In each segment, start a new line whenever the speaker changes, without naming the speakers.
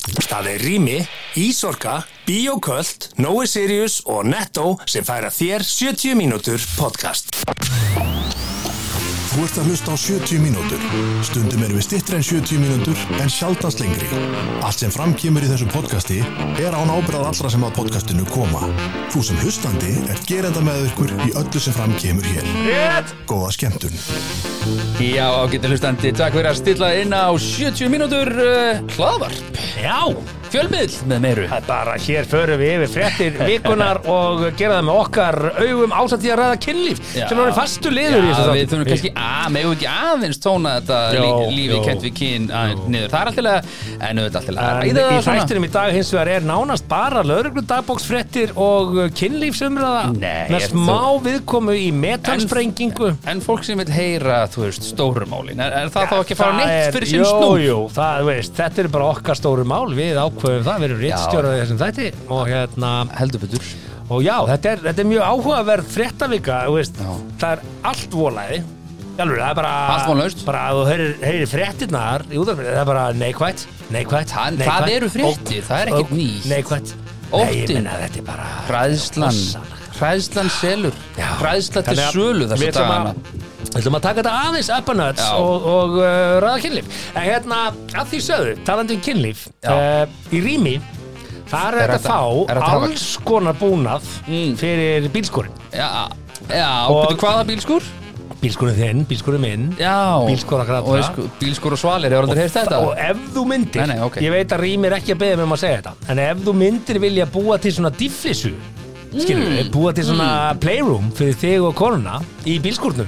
Það er Rými, Ísorka, Bíoköld, Nói Sirius og Netto sem færa þér 70 mínútur podcast.
Þú ert að hlusta á 70 mínútur. Stundum erum við stittri en 70 mínútur en sjaldans lengri. Allt sem framkýmur í þessu podcasti er án ábyrðað allra sem að podcastinu koma. Þú sem hlustandi er gerenda með ykkur í öllu sem framkýmur hér. Rétt! Góða skemmtun.
Já, ágættu hlustandi, takk fyrir að stilla inn á 70 mínútur uh, hlaðvarp,
Já,
fjölmiðl með meiru.
það er bara hér förum við yfir fréttir vikunar og gera það með okkar augum ásamt í að ræða kynlíf
Já.
sem er orðinn fastur liður í
Já,
þessu
við þurfum kannski, að, megum við ekki aðeins tóna þetta
Jó,
lí, lífi
jó.
kent við kyn aðeins niður. Það er alltaf lega, en auðvitað alltaf lega.
En í þættinum í dag hins vegar er nánast bara lögreglu dagbóksfréttir og uh, kynlífsumræða
Nei,
með
ert
smá viðkomu í metansprengingu
En fólk sem vil heyra, þú veist, stórumálin, er, er það þá ekki að fara
Það er-
neitt fyrir sinn
jú,
snú?
jú, það, þú veist, þetta er bara okkar stóru mál við ákveðum það, við erum rittstjórað þessum þætti og, hérna,
Heldur betur.
og já, þetta er, þetta er mjög áhugaverð fréttavika, þú veist,
Já.
það er allt volaði Jálfur, það er bara
Allt vonlaust.
bara að þú heyrir, heyrir fréttirnar í útvarpinu, það er bara neikvætt, neikvætt
Það-
neikvætt,
það eru fréttir,
ógn,
það er ekkert
ógn,
nýtt.
neikvætt, nei, ég
Óttinn.
minna þetta er bara
Hræðslan,
Rossalegt.
hræðslan selur,
Já.
hræðslan til
Þannig að
sölu þessu
við ætlum
dagana.
að- Við ætlum að taka þetta aðeins appanuts
Já.
og, og uh, ræða kynlíf. En hérna, að því sögðu, talandi um kynlíf,
Já.
uh, í rými, þar
Er
er þetta
þetta-
fá
er þetta-
alls konar búnað
Mm.
fyrir bílskurinn.
Já, já,
Og-
betur hvaða bílskúr?
Bílskurinn þinn, bílskurinn minn.
Já,
Bílskúr að krata.
Og sko- Bílskúr og svalir, ég var aldrei heyrt þetta
Og ef þú myndir,
Nei, nei, ok.
ég veit að rými er ekki að beða mig um að segja þetta, en ef þú myndir vilja búa til svona difflisu, skilur búa til svona playroom fyrir þig og konuna í bílskurnum,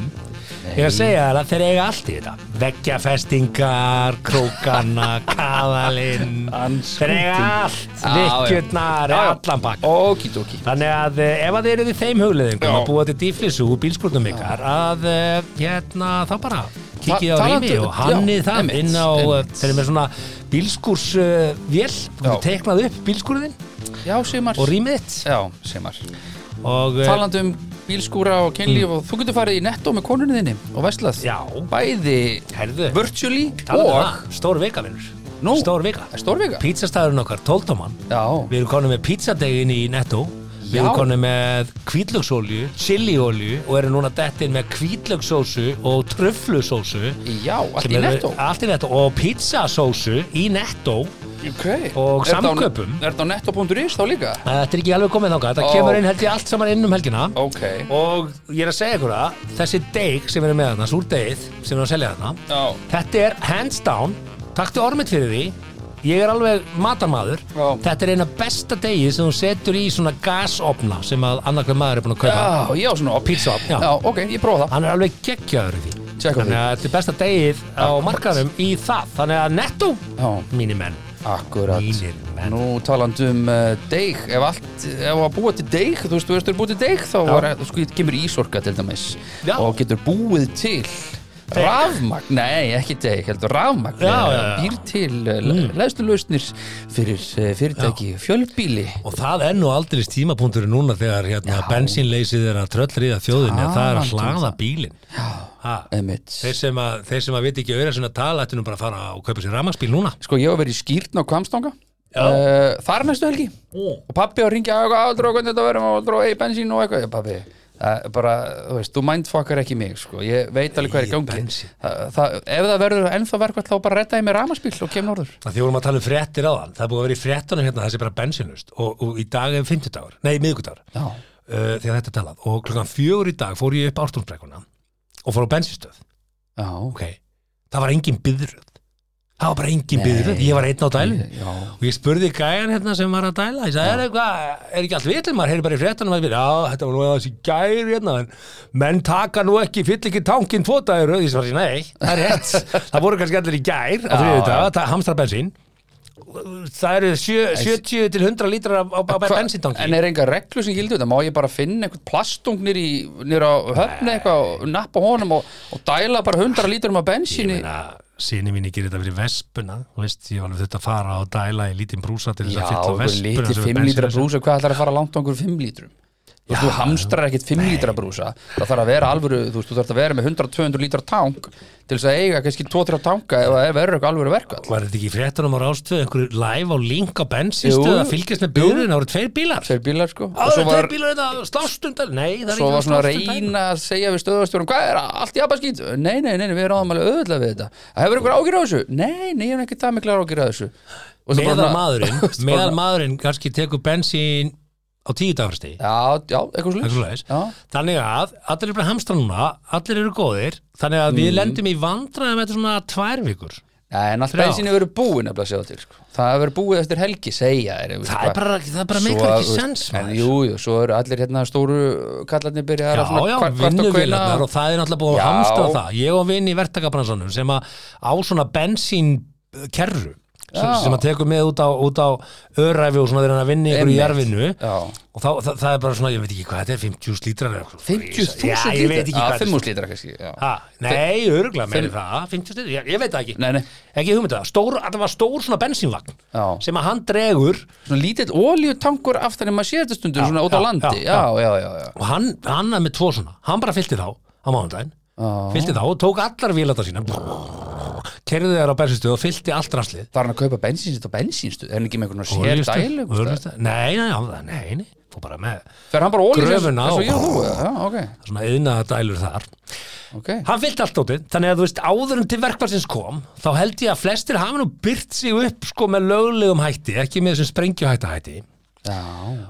Ég er að segja þér að þeir eiga allt í þetta Veggjafestingar, krókana, kaðalinn Þeir eiga allt,
Já, já.
lykkjurnar,
Já, já.
allan pakkan
Okidoki
Þannig að eh, ef að þið eruð í þeim hugleðingum
Já.
að búa til dýflissu úr bílskurnum ykkar að eh, hérna þá bara kikið
Ta-
á
talandi-
rými og
já,
hannið það
einmitt,
inn á eh,
einmitt.
þeir eru með svona bílskursvél eh,
Já.
þú teiknað upp bílskurðin
Já, Simar
og rýmið þitt
Já, Simar
og eh,
Talandi um bílskúra og kynlíf og þú getur farið í netto með konunni þinni og veslað
Já.
Bæði
Herðu.
virtually
talandi um
og
það, stór vika vinnur
Nú.
stór vika
Stórvika
pítsastæðurinn okkar, tóltóman
Já,
við erum konum með pítsadegin í Netto við
Já.
erum konum með kvítlöksolju chiliolju og erum núna dettin með kvítlöksósu og tröflusósu
já, allt
sem eru-
í
Ah.
netto
Allt í netto og pizzasósu í netto
Ok
og
Er þetta á-
samkaupum.
Er þetta á netto.is þá líka?
Þetta er ekki alveg komið þangað, þetta
Ó.
kemur inn held ég allt saman inn um helgina
Ok
Og ég er að segja ykkur að þessi deig sem við erum með þarna, súr deigið sem við erum að selja þarna
Já
Þetta er hands down, taktu ormit fyrir því Ég er alveg matarmadur
Já.
Þetta er eina besta deigið sem þú setur í svona gasopna sem að annarkveð maður er búin að kaupa
Já, já, svona
Pizza, Ah. já.
Já, ok, ég prófa það
Hann er alveg geggjaður í því
Tjekkum
Þannig
því.
að þetta er besta deigið á markaðum í það Þannig að netto,
Já.
mínir menn
Akkurat
Mínir menn.
Nú talandu um uh, deig Ef allt, ef að búa til deig Þú veist, þú veist, þú er búið til deig Þá var, sko, kemur ísorka til dæmis
Já.
Og getur búið til Rafmagn, nei ekki deig heldur rafmagn
Já,
Eh,
já, já.
býr til mm. leðstu lausnir fyrir eh, fyrirtæki, fjölbíli
Og það er nú aldrei tímapunkturinn núna þegar hérna, bensínleysið er að tröllriða þjóðinni að það er að
Talandi um
hlaða
það.
bílinn. Ha,
emitt
Þeir sem að, þeir sem að viti ekki auðvitað sinna tala ættu nú bara að fara og kaupa sér rafmagnsbíl núna.
Sko, ég var verið í skýrn á Kvamstanga
Já.
uh, Þar næstu helgi
Mm.
Og pappi var að ringja að aldrei hvernig þetta verðum og aldrei ei bensín og eitthvað Já, pappi, það er bara, þú veist, þú mindfuckar ekki mig sko. Ég veit alveg hvað er í
Eigið
gangi
bensín.
Þa- það- Ef það verður ennþá verkvært þá bara redda ég mér ramaspíl og kem norður
Það því vorum að tala um fréttir á það. Það er búið að vera í fréttunum hérna þessi bara bensínust og, og í dag er fimmtudagur, nei miðgudagur uh,
Já,
þegar þetta er talað. Og klokkan fjögur í dag fór ég upp ártúnsbrekkuna og fór á bensinstöð.
já
Ok, það var engin byðröð. Það var bara engin
Nei.
byðröð. Ég var einn á dælunni.
Já,
og ég spurði gæjan hérna sem var að dæla ég sagði, er eitthvað, er ekki allt vitið maður heyri bara í fréttanum að við, já, þetta var nú eða þessi gæri hérna, en menn taka nú ekki fyll ekki tankinn fóta í röð ég svarði, nei, það er rétt það voru kannski allir í gær á þriðið dag, það hamstra bensín það eru sjö, 70 til 100 lítrar á, á, á
Hva-
bensíntanki
En er enga reglu sem gildu þetta? Má ég bara finna einhvern plastung nýr, í, nýr á höfni eitthvað og nappa honum og, og dæla bara 100 lítrum af bensíni
síni mín gerir þetta fyrir vespuna þú veist, ég var alveg þetta að fara og dæla í lítinn brúsa til þess
Já,
að fylla
einhver
vespuna
lítið
sem er
5 lítra
bensínlaus.
brúsa, hvað ætlar að fara langt á einhver 5 lítrum? þú veist, þú hamstrar ekkit 5 lítra brúsa það þarf að vera alvöru, þú veist, þú þarf að vera með 100-200 lítra tank til þess að eiga kannski 2-3 tanka ef það er verður eitthvað alvöru verkvall
Var þetta ekki í fréttunum á rástöð einhverju live á link á bensinstöð
Jú.
að fylgjast með byrðin það voru tveir bílar
tveir bílar sko og
Það
svo
voru tveir
var,
bílar þetta slástundar Nei, það er
svo
ekki
var svona að
slástundar.
reyna að segja við stöðastjórum hvað er allt í abaskýt nei, nei, nei, nei, við erum alveg auðvitað við þetta það hefur ykkur ágjur á þessu nei, nei, ég hef ekki það mikla ágjur á þessu Og svo bara
Meðal
svona- Þú
maðurinn
veist, bara
Meðal
svona-
maðurinn kannski tekur bensín á tíu dagfresti
já, já, eitthvað
Eitthvað
slúið
svoleiðis. Þannig að allir eru bara hamstra núna Allir eru góðir Þannig að
Mm.
við lendum í vandræðum eftir svona tvær vikur
en allt
Þrjár.
bensinni verið búin nefnilega að segja til sko. það hefur verið búið eftir helgi segja er,
Það er bara, það er bara meikar ekki sens
en,
maður.
jú, jú, svo eru allir hérna stóru kallarnir byrjaðar
Já, já, vinnuvélarnar og það er náttúrulega búið að
Já.
hamstra það Ég og vinn í verktakabransanum sem að á svona bensínkerru sem,
Já.
sem að tekur með út á, út á öræfi og svona þeir hann að vinna ykkur í jarfinu og þá, það, það er bara svona, ég veit ekki hvað þetta er 50 slítrar eða eitthvað.
50.000
Já, ég veit ekki hvað þetta er
5.000 lítra kannski já.
Ha, Nei, örgulega meira en það 50 slítrar, ég, ég veit það ekki
Nei, nei.
Ekki hugmynda, stór, þetta var stór svona bensínvagn
Já.
sem að hann dregur
svona lítill oljutankur af þannig að maður sé þetta stundum svona út á
já,
landi
já,
já, já, já, já,
og hann, hann er með tvo svona hann bara fyllti þá á mánudaginn fyllti þá og tók allar vélata sína kerði þær á bensinstöð og fyllti allt raslið
var hann að kaupa bensinsitt og bensinstuð er hann ekki með einhvern sér
Olíustöð,
dælu einhvers staðar?
olíustöð. nei, nei, nei, nei, nei fór bara með
fer hann bara olju
Gröfuna
eins og
og-
ég og þú já, ok,
svona yðnaða dælur þar
ok
hann fyllti allt dótið, þannig að þú veist áður en til verkvarsins kom, þá held ég að flestir hafa nú byrt sig upp sko með löglegum hætti, ekki með þessum sprengjuhætta hætti
já,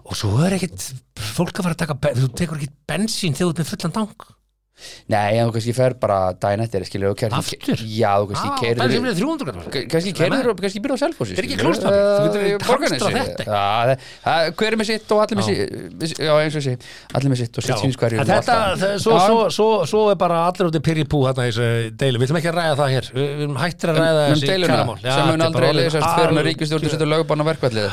og svo er ekkit fólk að fara að taka, ben- þú tekur ekkit bensín þegar þú ert með fullan tank
nei, en þú kannski fer bara dæn eftir skilur, og kannski-
Aftur?
já, þú
Ah,
kannski
bensín
keirður
fyrir 300 gráður.
kannski kerður og kannski byrja á selfósi
Þetta er ekki klóstappi, þú getur ekki hamstrað þetta.
þetta hver er með sitt og allir með
Já.
sitt já eins og sé, allir með sitt og sitt síns hverju
En þetta, það- svo, svo,
um-
svo, svo er bara allir út í pyrri pú hérna í þessu deilu, við ætlum ekki að ræða það hér við við erum hættir að ræða
um
þessi
deiluna
kjaramál. Já,
sem
þetta er
mun
bara
aldrei
orðið
leysast fyrir hann
algjör-
ríkistjórn setur lögubann á verkvallið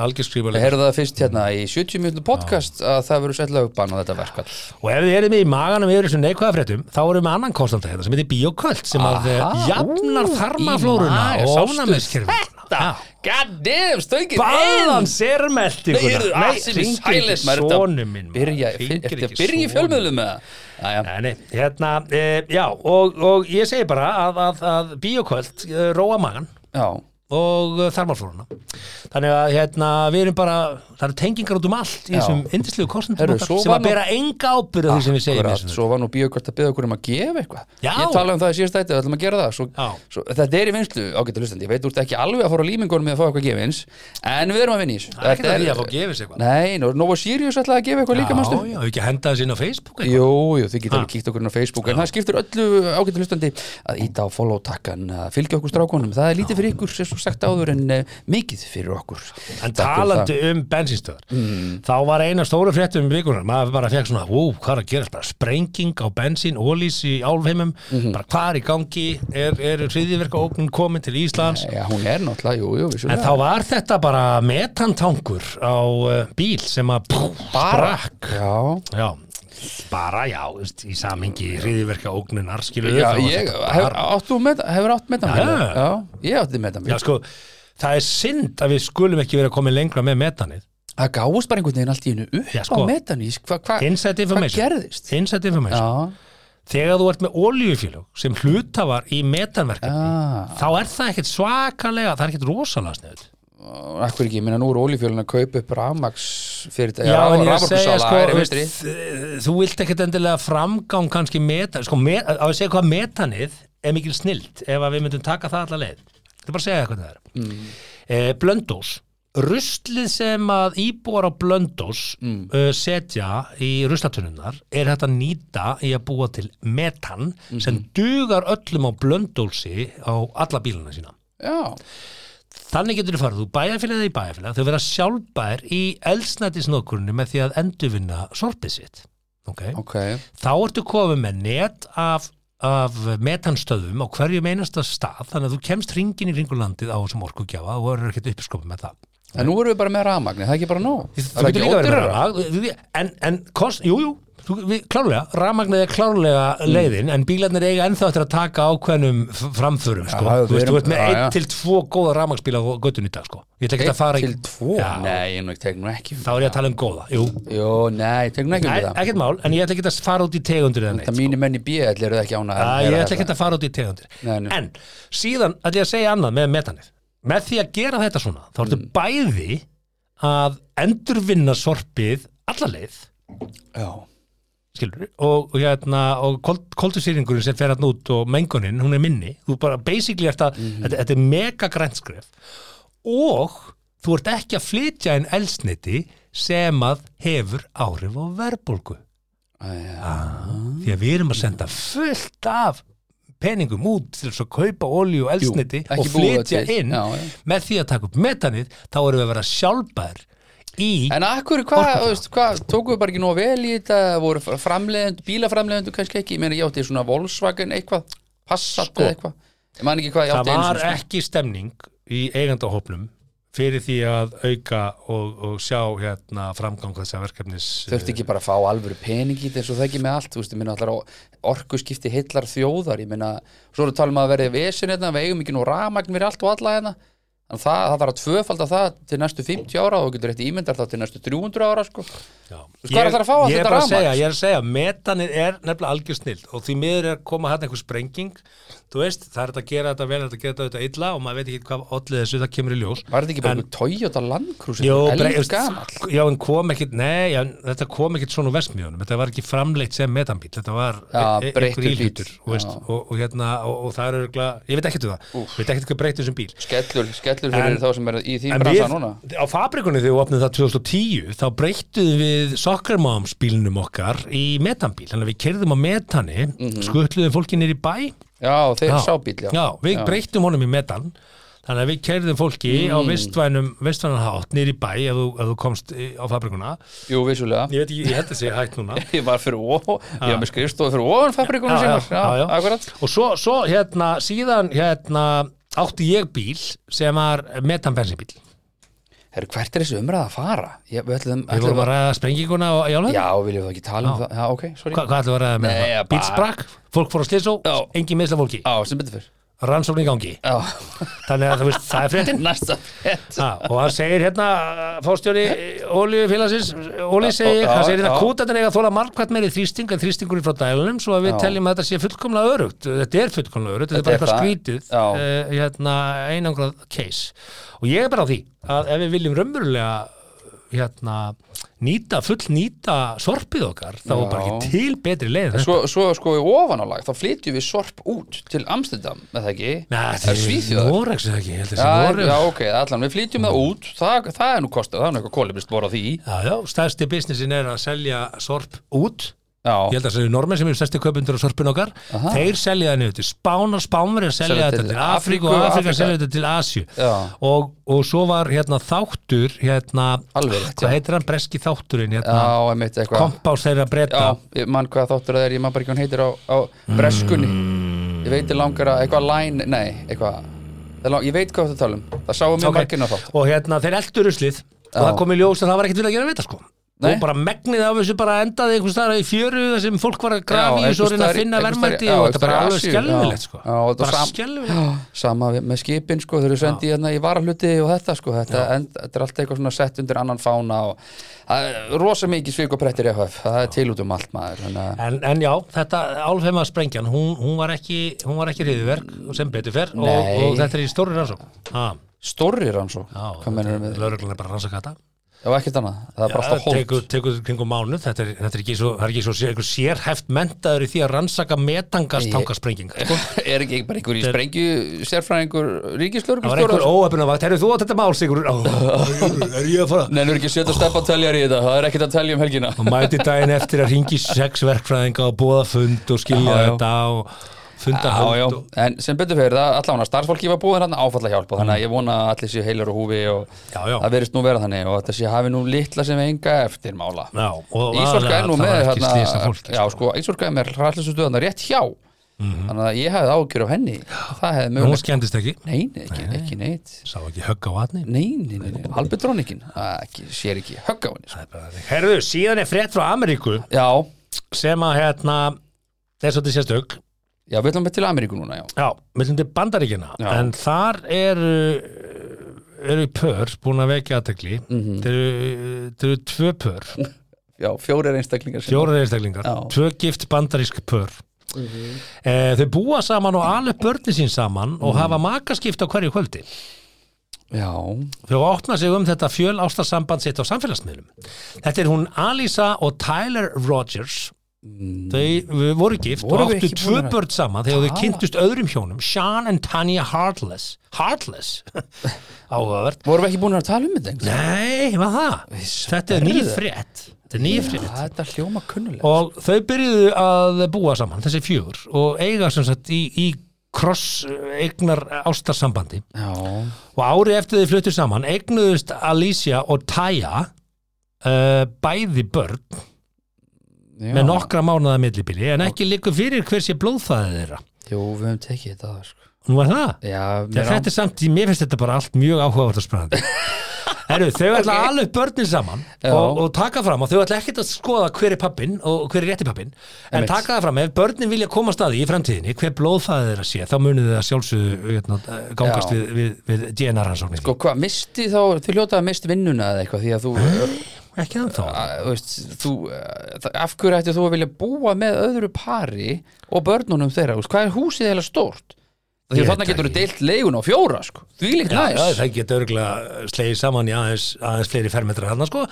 algjör
við
skrýmuleg.
heyrðum það fyrst hérna í 70 minútur podcast að það verður sett lögubann á þetta verkvall
og ef þið erum í maganum yfir þessum neikvæða fréttum þá erum við með annan konstanta hérna sem heitir bioköld sem að
Aha,
eh, jafnar
ú,
þarmaflóruna
í maga,
og
sástu
ónæmiskerfið
god damn stöngin
Báðan sermeldi
Nei, eru aðsinn sælis maður þetta
Sónum minn maður,
Byrja,
hringir
ertu að
ekki
byrja í
soninn.
fjölmiðlum með það Jæja.
Nei, nei, hérna, e, já, og, og ég segi bara að, að, að bíoköld e, róa magan
Já,
og uh, þarmaflóruna þannig að hérna, við erum bara það eru tengingar út um allt í
Já.
þessum indislu kostnum
Herru,
okkar
svo
sem
var
að
nú-
bera enga ábyrðu því sem við segjum í
akkurat,
þessum
svo var nú bíokvært að byggja okkur um að gefa eitthvað
Já.
Ég tala um það í síðast ætti, við ætlum að gera það svo,
Já.
svo, Þetta er í vinslu, ágættu hlustandi Ég veit, þú ert ekki alveg að fóra á límingunum með að fá eitthvað gefins En við erum að vinna í þessu
Það er ekkert
Þetta
að því að fá gefins eitthvað.
Nei, nú, Nova Sirius ætlaði að gefa eitthvað líka
já,
manstu
já, við ekki að henda þessi inn á Facebook eitthvað.
Jú, jú, þið getur
Ha.
alveg kíkt okkur inn á Facebook en það skiptir öllu ágættu hlustandi að íta á follow takkan, að fylgja okkur strákunum það er lítið fyrir ykkur, sem svo sagt áður en eh, mikið fyrir okkur
en
Takk fyrir það. Mm.
talandi um bensinstöðar þá var eina stóru fréttum um vikunar maður bara fekk svona, ú, hvað er að gerast bara sprenging á bensin, ólís í álfheimum
Mhm.
bara hvað er í gangi er, er hriðiverka óknum komin til Íslands
Já, hún er náttúrulega, jú, jú,
En
vissulega
þá var þetta bara metantankur á uh, bíl sem að pú,
Bara.
sprakk
Já,
Já, bara já, þú veist, í samhengi hriðiverka ógnunar, skilur
já ég, hefur,
bara,
áttu með, hefur átt metan
Já, já.
Já, ég átti metan
Já, sko, það er synd að við skulum ekki vera komið lengra með metanið
Það gáðist bara einhvern veginn allt í hennu upp
Já, sko.
á metan Hvað hva,
Inside
hva
information
gerðist?
Inside information
Já,
Þegar þú ert með oljufélög sem hlutafar í metanverkefni
ah,
þá er það ekkert svakalega, það er ekkert rosalega sniðut
akkur ekki, ég minna nú er olífjölun að kaupa upp rafmaks fyrir þetta
Já, en ég er að segja sko,
er í
veist,
vinstri
þ- þú vilt ekkert endilega framgang kannski metan, sko, met, á að segja hvað metanið er mikil snilt ef að við myndum taka það alla leið. Það er bara að segja eitthvað það er. Mm. blöndós, ruslið sem að íbúar á blöndós
Mm.
eh, setja í ruslatunumnar er þetta nýta í að búa til metan
Mhm.
sem dugar öllum á blöndósi á alla bíluna sína.
Já,
Þannig getur þið farið, þú bæjarfélagið í bæjarfélag, þau verða sjálfbær í elsnættisnókurinu með því að endurvinna sorpið sitt. Okay?
ok
Þá ertu komið með net af, af metanstöðum á hverju einasta stað, þannig að þú kemst ringin í ringulandið á þessum orkugjafa og verður ekkert uppskopið með það.
En nú erum við bara með rafmagni, það er ekki bara nóg
Þú
það
getur
ekki
líka verið
ódýrara?
með það, en, en kost, jú, jú, Þú, við, klárlega, rafmagnið er klárlega
Mm.
leiðin en bílarnir eiga ennþá eftir að taka ákveðnum f- framförum sko.
Já,
þú
við
veist, þú
erum-
veist með
já, já.
1 til 2 góða rafmagnsbíla á göttun í dag sko. ég ætla ekki að fara í
1 til 2
Já,
Nei, ég nú ekki, tek nú ekki um
þá er ég að tala um góða Jú,
Jó, nei, tek nú ekki um
Nei,
það
ekkert mál, en ég ætla ekki að fara út í tegundir eða neitt sko.
Það mínir menn í B.L. eru það ekki ánað
Já, ég ætla ekki að fara út í tegundir
Nei, nei.
En síðan ætla ég að segja annað með metanið Með því að gera þetta svona þá ertu
Mm.
bæði að endurvinna sorpið alla leið
Já,
skilur, og, og hérna, og koldusýringurinn sem fer hann út og mengunin, hún er minni þú bara basically ert að,
Mhm.
þetta, þetta er mega græntskref og þú ert ekki að flytja inn elsniti sem að hefur áhrif á verðbólgu Ah, því að við erum að senda fullt af peningum út til þess að kaupa olíu og elsniti
ekki
og
búa það
flytja
til.
inn
Já, já.
með því að taka upp metanið þá erum við að vera sjálfbær í
En akkur, hvað, þú veist, hvað, tókuðu bara ekki nóg vel í þetta, voru framleiðendur, bílaframleiðendur kannski ekki, ég meina ég átti svona Volkswagen eitthvað, Passat
Sko.
eða eitthvað, ég man ekki hvað ég
það
átti einu
var
sinni, sko.
ekki stemning í eigandahópnum fyrir því að auka og, og sjá hérna framgang þessa verkefnis
Þurfti ekki bara að fá alvöru pening í þetta eins og það ekki með allt, þú veist, ég minna allar orkuskipti heillar þjóðar, ég minna, svo erum við talað um að verði vesin hérna, við eigum ekki nú rafmagn fyrir allt og alla hérna, en það, það þarf að tvöfalda það til næstu 50 ára og þú getur rétt ímyndar það til næstu 300 ára, sko.
Já.
veist, hvað er það að fá
ég
allt
er
þetta
bara að
rafmagn?
segja, ég er að segja, metanir er nefnilega algjör snill og því miður er að koma hann einhver sprenging þú veist, það er þetta að gera þetta vel það er þetta að gera þetta auðvitað illa og maður veit ekki hvað allir þessu það kemur í ljós
Var þetta ekki bara
En-
einhver Toyota Land Cruiser,
Jó, brei-
elg
veist, sko, já, en kom ekkit, nei, já, en þetta kom ekkit svona úr vestmjónum, þetta var ekki framleitt sem metanbíl, þetta var
Já,
e- e-
breyttur bíll.
íhlutur, þú veist,
Já.
og, og hérna, og, og það er örgla, ég veit ekkert um það, ég veit ekkert hvað breyttu sem bíl.
skellur, skellur fyrir
En-
þá sem er í því
En
bransa
við,
núna
á fabrikunni þegar við opnum það 2010, þá breyttuðum við Soccermoms bílnum okkar í metanbíl, þannig að við kerðum á metani, mm
Mhm.
skutluðum fólki nýr í bæ,
Já, þeir sá bíl, já,
já, við breyttum honum í metan þannig að við kerðum fólki á
Mm.
vestvænum vestvænum hátt nýr í bæ ef þú, ef þú komst í- á fabrikuna
Jú, vissulega
ég veit ekki, ég held að segja hægt núna
Ég var fyrir ofan, ég var með skrifstofu fyrir ofan fabrikunum
Já, já,
sínar Já,
já, já.
akkurat
og svo, svo hérna, síðan hérna, átti ég bíl sem var metanbensinbíl við
Herru, hvert er þessi umræða að fara? Ég, við ætlum, ætlum
vorum að
að,
ræða sprenginguna og jálfum
já, viljum við ekki tala um það Já, ok, sorry
Hva, hvað ætlum við að ræða með
Nei,
það?
bara-
Bíl sprakk, fólk fór á slisó,
Já.
engin meðsla fólki,
Já, sem betur fyrr
rannsókn í gangi
Já,
þannig að þú veist, það er fréttin
næsta fett
Ha, og hann segir hérna fórstjóri Óliufélagsins Óli segir,
já,
hann segir hérna
já.
kútatin eiga að þóla margkvæmt meiri þrýsting en þrýstingurinn frá dælunum svo að við
Já.
teljum að þetta sé fullkomlega örugt þetta er fullkomlega örugt, þetta er bara
Þetta er
eitthvað
það.
skrítið
Já.
uh, hérna, einangrað case og ég er bara á því að ef við viljum raunverulega hérna, nýta, full nýta sorpið okkar, þá er bara ekki til betri leið en þetta.
Svo, svo sko í ofanálag, þá flytjum við sorp út til Amstendam, með það ekki
Nei,
það er svíþjóðar
Noregs er það ekki, ég held að það sé
Já, já,
Noregs
ok, allan, við flytjum það út Það, það er nú kostað, það er nú eitthvað kólefnist bor á því
Já, já, stærsti businessin er að selja sorp út ég
Já,
held að það séu normenn sem eru stærsti kaupundur á sorpun okkar, þeir selja það niður til Spán og Spánverið selja
Selja
þetta
til
til Afríku
Afríku
og
og
Afríka
Afríka.
selja þetta til Asju
Já.
og, og svo var hérna þáttur hérna,
Alveg rétt,
hvað
já.
heitir hann breski þátturinn
já,
hérna,
einmitt eitthvað
kompás þeirra breyta
Já, ég man hvað þáttur það er, ég man bara ekki hvað hann heitir á, á breskunni Ég veit ég langar að, eitthvað line, nei, eitthvað það lang, Ég veit hvað þú tala um, það sáum mjög okay. marginn á þátt
og hérna þeir eldur uslið og
Já.
það kom í ljós að það var ekkert vilja að gera við þetta sko
Nei.
og bara megnið af þessu bara endaði einhvers staðar í fjöru þar sem fólk var að grafi
Já,
og svo
einhvers
reyna að
staðar í-
finna
einhvers staðar í-
verðmæti
já,
og
einhvers
þetta bara alveg
staðar í Asíu,
skelfilegt
já.
sko
Já, og þetta
bara
sam-
skelfilegt
Sama við- með skipin, sko, þau eru sendi hérna í varahluti og þetta, sko, þetta, en, þetta er allt eitthvað svona sett undir annan fána og það er rosa mikið svik og prettir EHF, það er til út um allt maður, þannig að
En, en já, þetta álfheima sprengjan, hún, hún var ekki, hún var ekki riðuverk sem betur fer og,
Nei.
og þetta er í stóri rannsókn. Ha,
Stórri rannsó,
já,
hvað mennur við,
Lörglan er bara að rannsaka þetta.
og ekkert annað, það er bara
Ja,
alltaf hótt
tekur, tekur kringum mánu, þetta er, þetta er ekki svo, það er ekki svo sér, einhver sérhæft mentaður í því að rannsaka metangast tankarsprenginga. Sko.
Er ekki bara einhver í sprengju
Það
sérfræðingur
var einhver
ríkislörgustjóra?
óöfnum að það er þú að þetta mál, Sigur. Ó, er ég að fara?
Nei, nú er ekki að setja steppa teljar í þetta, það er ekkert að telja um helgina
Og mæti daginn eftir að ringi sex verkfræðinga og búa fund og skilja
Já, já.
þetta og funda
Já, já,
hönd og...
en sem betur fyrir það, allavega starfsfólki var búið hérna áfalla hjálpa, þannig að ég vona að allir séu heilar og húfi og
Já, já.
það verist nú vera þannig og þetta sé hafi nú litla sem enga eftir mála.
Já, og
Ísorka er nú
það
með
var ekki
hérna,
slýsa fólki. Mhm.
já sko, Ísorka er með hræðlisustu þarna rétt hjá, þannig að ég hefði ágjör af henni, það hefði
Hún
möguleg,
skemmtist ekki.
nei, nei, ekki, ekki neitt,
Sá ekki högg á vatni
nei, nei, nei, nei. albedrónikin, það ekki- sér ekki högg á henni, sko.
Herðu, síðan er frétt frá Ameríku
já,
sem að hérna er svolítið sérstök
Já, við ætlum við til Ameríku núna, já
Já, millum til Bandaríkina
Já.
en þar eru eru pör búin að vekja aðtekli mm
Mhm.
-hmm. þeir eru þeir eru tvö pör,
Já, fjórir einstaklingar sem-
fjóra einstaklingar
Já. Mhm.
tvö gift bandarísk pör eh, þau búa saman og alveg börni sín saman og
Mhm.
hafa makaskipt á hverju kvöldi
Já,
þau opna sig um þetta fjöl ástarsamband sitt á samfélagsmiðlum þetta er hún Alisa og Tyler Rogers þau við voru gift
Voru
og
við
áttu
ekki
tvö
búin að-
börn saman þegar þau
Tala.
kynntust öðrum hjónum Sean and Tanya Heartless Heartless, áhugavert
vorum við ekki búin að tala um þetta einhvern
nei, hvað það? þetta er nýð
það.
frétt þetta er nýð
veginn?
frétt
Þetta hljóma kunnulega
og þau byrjuðu að búa saman þessi fjögur og eiga sem sagt í, í kross eignar ástarsambandi
Já,
og ári eftir þau fluttu saman eignuðust Alicia og Taya uh, bæði börn
já
með nokkra mánuða millibili en ekki líku fyrir hver sé blóðfæðið þeirra
Jú, við höfum tekið þetta aðeins, sko
nú var það
Já,
Já,
mér
þetta er samt, mér finnst þetta bara allt mjög áhugavert og spennandi Heru, Þau ætla okay. alveg börnin saman
Já.
og, og taka fram og þau ætla ekkert að skoða hver er pappin og hver er rétti pappin en
Einmitt.
taka það fram, ef börnin vilja koma staði í framtíðinni hver blóðfæðið þeirra sé, þá munið þau að sjálfsögðu hérna, gangast
Já.
við, við, við DNA-rannsóknir
Sko, hvað, misti þá, þú hljóta að misti vinnuna eða eitthvað því að þú,
Ekki þannig þá
að, þú veist, þú, eh, það- af hverju ætti þú að vilja búa með öðru pari og börnunum þeirra, þú veist, hvað er húsið heila stórt? Því
Ég
að
veit
þarna getur þú
ekki.
deilt leigun á fjóra, sko, því líkt
Já, já,
næs
það geta örgulega slegið saman í aðeins, aðeins fleiri fermetrar hann sko.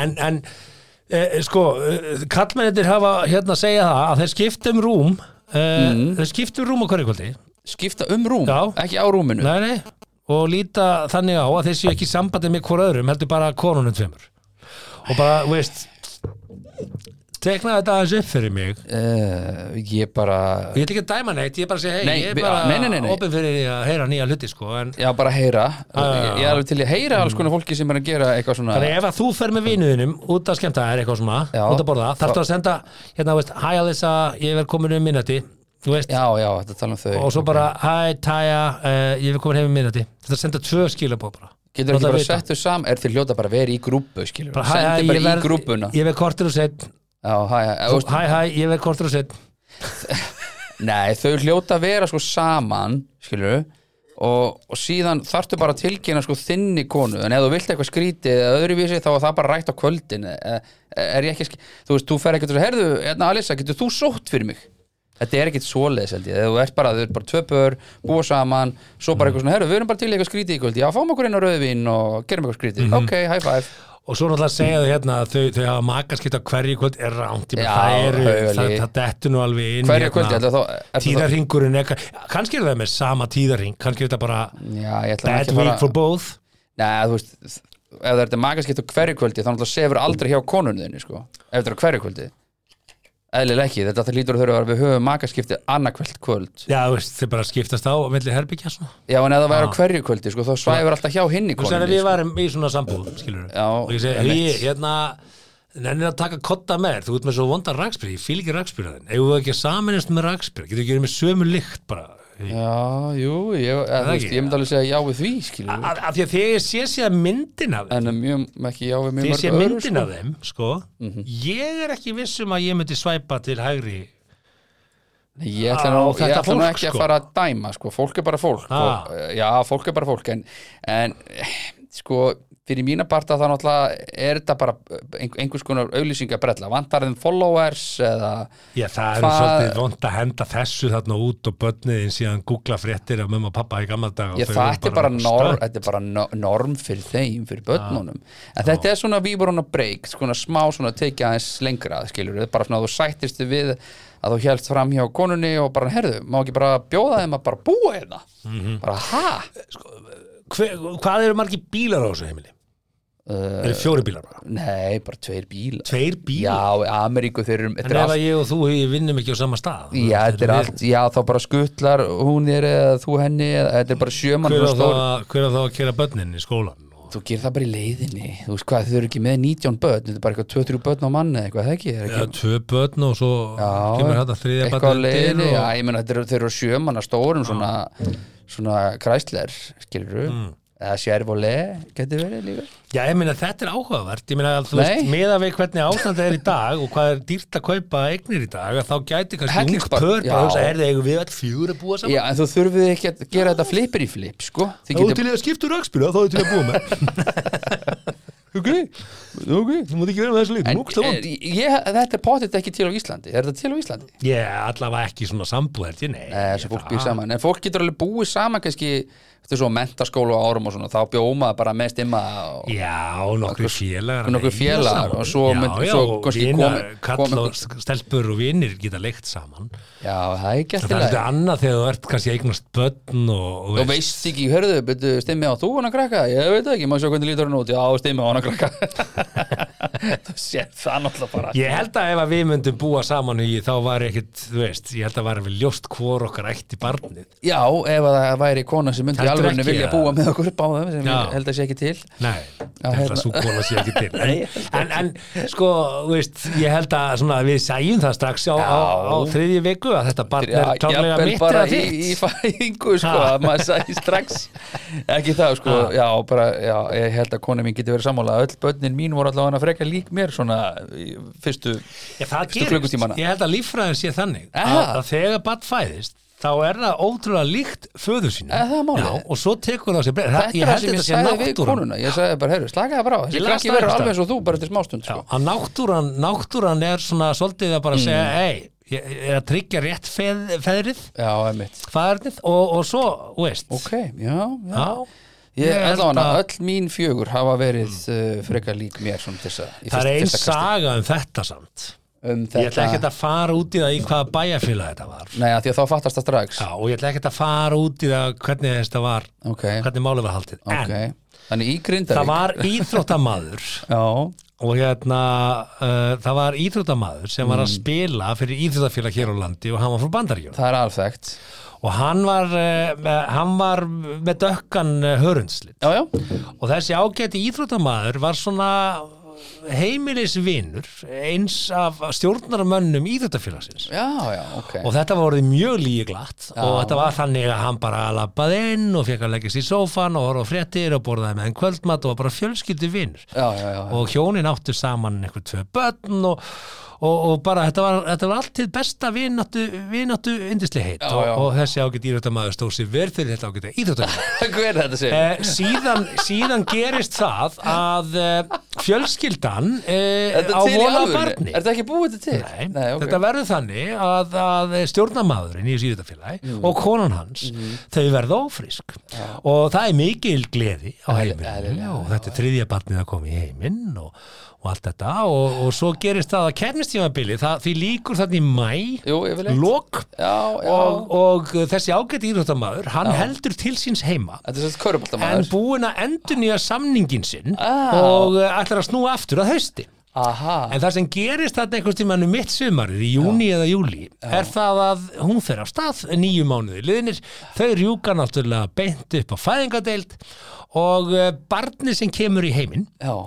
en, en e, sko eh, kallmennir hafa hérna að segja það að þeir skiptum rúm e,
Mhm.
þeir skiptum rúm á hverju kvöldi
Skipta um rúm,
Já.
ekki á rúminu
nei, nei, og líta þannig á að þeir séu ekki í sambandi með hvora öðrum heldur bara konunum tveimur og bara, þú veist tekna þetta aðeins upp fyrir mig ég
uh, Ég bara,
ætla ekki að dæma neitt, ég er bara að segja hei,
Nei,
ég er
við-
bara
nei, nei, nei, nei.
opið fyrir því að heyra nýja hluti sko, en
já bara heyra
já, já. Mm.
Ég er alveg til í að heyra alls konar fólki sem er að gera eitthvað svona
Þannig ef að þú fer með vinuðinum út að skemmta þér eitthvað svona,
Já.
út að borða, þarftu að senda hérna, veist, hæ Alisa, ég verð komin um minnati, þú veist,
Já, já, þetta tala um þau
og svo bara hæ Taya, uh, ég verð komin heim um minnati þetta er að senda tvö skilabóð bara
Getur
Láta
ekki bara
vita.
sett þau saman, er þið hljóta bara að vera í grúpu, skilur
Bara,
bara,
hæ, hæ,
Sendi
ég
bara í
verð-
grúpuna
ég verð kortur og sett,
Já, hæ, hæ, þú veist,
hæ hæ, ég verð kortur og sett
Nei, þau hljóta að vera sko saman, skilur og, og síðan þarftu bara að tilkynna sko þinni konu, en ef þú vilt eitthvað skrítið eða öðruvísi, þá er það bara rætt á kvöldin er, er ég ekki, sk- þú veist, þú fer ekkert og herðu, hérna Alisa, getur þú sótt fyrir mig Þetta er ekkert svoleiðis, held ég, þegar þú ert bara, þau eru bara tvö bör, búa saman svo bara eitthvað svona, herru, við erum bara til í eitthvað skrítið í kvöld já, fáum okkur inn á rauðvín og gerum eitthvað skrítið
Mhm.
ok, high five
og svo náttúrulega segja þau hérna að þau, þau hafa makarskipt á hverju kvöld er ránt, ég meina,
Já,
það eru
haugali.
það, það dettu nú alveg inn
Hverju kvöldi, ætli þá- er það-
tíðarringurinn eitthvað, kannski er það með sama tíðarring kannski er þetta bara
Já, ég ætla nú
bad
ekki að
week for
fara
both
Nei, þú veist, ef það er þetta magaskipt á hverju kvöldi þá náttúrulega sefur aldrei hjá konunni þinni, sko ef þetta er á hverju kvöldi Eðlilega ekki, þetta það lítur að þurfa að vera við höfum magaskipti annarkvöld kvöld
Já, þú veist, þeir bara skiptast á milli herbyggja svona.
Já, en ef það væri á hverju kvöldi, sko, þá svæfur alltaf hjá hinni
Þú sagði að við
konunni, sko
varum í svona sambúð, skilur við.
Já,
og ég segi,
einmitt.
hei, hérna, nennir að taka kotta með þér, þú ert með svo vondan rakspyr, ég fíl ekki rakspyr að þinn. Ef við ekki að saminist með rakspyr, getur ekki verið með sömu lykt bara.
Já, jú, ég, eða, þú
ekki? Ah.
veist, ég myndi alveg segja já við því, skilur
Af af því að þegar ég sé síðan myndin af þeim,
En mjög, ekki já við mjög
þegar ég sé
öðru, Mhm.
myndin af þeim, sko, ég er ekki viss um að ég myndi svæpa til hægri.
Nei, Ég ætla,
Á
nú, ég
þetta
ætla nú
fólk,
ekki
sko.
að fara að dæma sko. fólk er bara fólk
Ah.
og, eh, já, fólk er bara fólk en, en eh, sko, fyrir mína parta það náttúrulega er þetta bara eh, ein, einhvers konar auðlýsingabrella vantar þeim followers eða
Já, það er
Hvað-
svolítið vond að henda þessu þarna út og börniðin síðan googla fréttir af mömmu og pappa í gamla dag. og
ég,
þau
það
eru
þetta er bara, norm,
stökk.
þetta er bara no, norm fyrir þeim, fyrir börnunum en þetta er svona výboruna break svona smá svona tekið aðeins lengra skilur þetta er bara svona að þú sættist þig við að þú hélst fram hjá konunni og bara herðu, má ekki bara bjóða þeim að bara búa hérna
Mhm.
bara ha
Hver, hvað eru margir bílar á þessu heimili? Uh, eru fjóri bílar bara?
Nei, bara tveir bílar
Tveir bílar?
Já, í Ameríku þeir eru
en
þetta er
ef
allt,
að ég og þú ég vinnum ekki á sama stað
Já, þetta er allt Já, þá bara skuttlar hún er eða þú henni eða þetta er bara sjöman
Hver á þá,
stór,
að- hver á þá að kera börnin í skólan? Og-
Þú gerir það bara í leiðinni Þú veist hvað, þau eru ekki með 19 börn Þetta er bara eitthvað 23 börn á manni eða eitthvað, það ekki, er
Já,
ekki
tvö börn og svo kemur þetta þriðja
eitthvað á
börn
leiðinni
og...
Já,
Mm.
ég meina þetta eru, þeir eru sjöman að stórum svona, svona kræsler skilur eða sérvóle, getur verið líka
Já, ég meina þetta er áhugavert, ég meina að þú
Nei.
veist, meða við hvernig ástandið er í dag og hvað er dýrt að kaupa eignir í dag, að þá gæti kannski ungt
Hellingsbarn,
pör,
já.
bara hugsa, heyrðu, eigum við all fjúr að búa saman?
Já, en þú þurfið ekki að gera þetta flipper í flip, sko Þið
Þú
getur-
til í að skipta úr öxbyrða, þá er til í að búa með. ok, ok, þú mútt ekki vera með þessu líf,
En,
múkst það
en
vond.
ég, þetta er potið ekki til á Íslandi Er þetta til á Íslandi?
Ég allavega ekki svona sambúðert, ég nei. ég
Nei, þessu fólk
það-
býr saman En fólk getur alveg búið saman kannski Þetta er svo mentaskóla á árum og svona Þá bjómaði bara með stimma og...
Já, nokkur félagar að
nokkur
eiga saman.
félagar og svo
já,
mynd-
já,
svo
og
kannski
vina,
komi-
kall
komi-
og stelpur og vinir geta leikt saman
Já, það er ekki
það er
alltaf
þetta annað þegar þú ert kannski að eignast börn og,
Þú veist ekki, hörðu, betur stimmi á þú hana krakka Ég veit það ekki, maður sjá hvernig lítur hann út Já, stimmi á hana krakka Þú sér það náttúrulega bara
Ég held að ef að við myndum búa saman í þá var ekkit, þú veist, ég held að var við ljóst hvor okkar ætti barnið.
Já, ef að það væri kona sem myndi
Heldur
alveg
ekki,
vilja
eða?
búa með okkur báðum sem
Já.
ég held að sé ekki til
Nei,
Já,
ég held
hérna.
að sú kona sé ekki til. En,
Nei, ég held
en, en sko, þú veist, ég held að svona, við sæjum það strax á, á, á þriðju viku að þetta barn
Já,
er klárlega
jafnvel
mitt
bara
eða
í,
þitt.
í fæðingu sko,
Ha.
að maður sagði strax ekki það sko, já, bara, já, ég held að konu mín geti verið sammála öll börnin mín voru allavega að freka lík mér svona í fyrstu
Já, það
Veistu
gerist,
klukkutímana?
ég held að líffræðin sé þannig að,
Aha.
að þegar barn fæðist þá er það ótrúlega líkt föður sínu
Eh, það er málið.
Já, og svo tekur það á sig breyð
þetta er það sem ég sagði við konuna ég sagði bara, heyrðu, slakaði bara á
Ég
þessi
las
krakki
það
verður
einhvers staðar.
alveg eins og þú bara eftir smástund
Já,
sko.
að náttúran, náttúran er svona svolítið að bara
Mm.
segja hei, ég ég er að tryggja rétt feð, feðrið,
já, emitt
faðernið og, og svo, þú veist
ok, já, já,
Já,
Ég,
Ég held
allavega,
að-
öll mín fjögur hafa verið uh, freka lík mér svona til þess að í
það er
fyrst-
ein
fyrsta kasti.
saga um þetta samt
um
Ég ætla ekkert
þetta,
að fara út í það í hvaða bæjarfélag þetta var
nei, að því að þá fattast það strax
Já, og ég ætla ekkert að fara út í það hvernig þetta var,
ok,
hvernig málið var haldið
ok
En
þannig í
það
Grindavík
var íþróttamaður
já,
og hérna uh, það var íþróttamaður sem
Mm.
var að spila fyrir íþróttafélag hér á landi og hann var frá Bandaríkjum
Það er alþekkt
og hann var, uh, hann var með dökkan uh, hörundslit
Já, já,
og þessi ágæti íþróttamaður var svona heimilisvinur eins af stjórnarmönnum íþróttafélagsins
já, já, ok
og þetta var orðið mjög líglatt og þetta var þannig að hann bara lappaði inn og fekk að leggjast í sófan og horfa á fréttir og borðaði með hann kvöldmatt og var bara fjölskyldu vinnur
Já, já, já, já.
og hjónin áttu saman einhver tvö börn og, og, og bara þetta var, þetta var allt til besta vináttu, vináttu yndisli heitt
Já,
og,
já.
og þessi ágætt íþróttamaður stóð sér verð fyrir þetta ágætt íþróttamaður
Hver er þetta sér?
Eh, síðan, síðan gerist það að eh, fjölskyldan eh,
þetta
á
til í
vona
alvörunni?
barni
Er þetta ekki búið þetta til?
Nei,
Nei ok
Þetta verður þannig að, að stjórnamaðurinn í þessu íþróttafélagi
Mm.
og konan hans, þau verða ófrisk og það er mikil gleði á heimilinu og þetta er þriðja barnið að koma í heiminn og, og allt þetta og, og svo gerist það að kefnistímabili, það, því líkur þarna í mæ
Jú, yfirleitt
lok
Já, já
og, og þessi ágæti íþróttamaður hann heldur til síns heima
Þetta er sérst
en
köruboltamaður
búin að endur nýja samningin sinn
Ah.
og eh, ætlar að snúa aftur að hausti
Aha
En það sem gerist þarna einhvers tímann um mitt sumarið í júni eða júli er það að hún fer af stað nýju mánuði liðinir, þau rjúka náttúrulega beint upp á fæðingadeild og eh, barnið sem kemur í heiminn
Já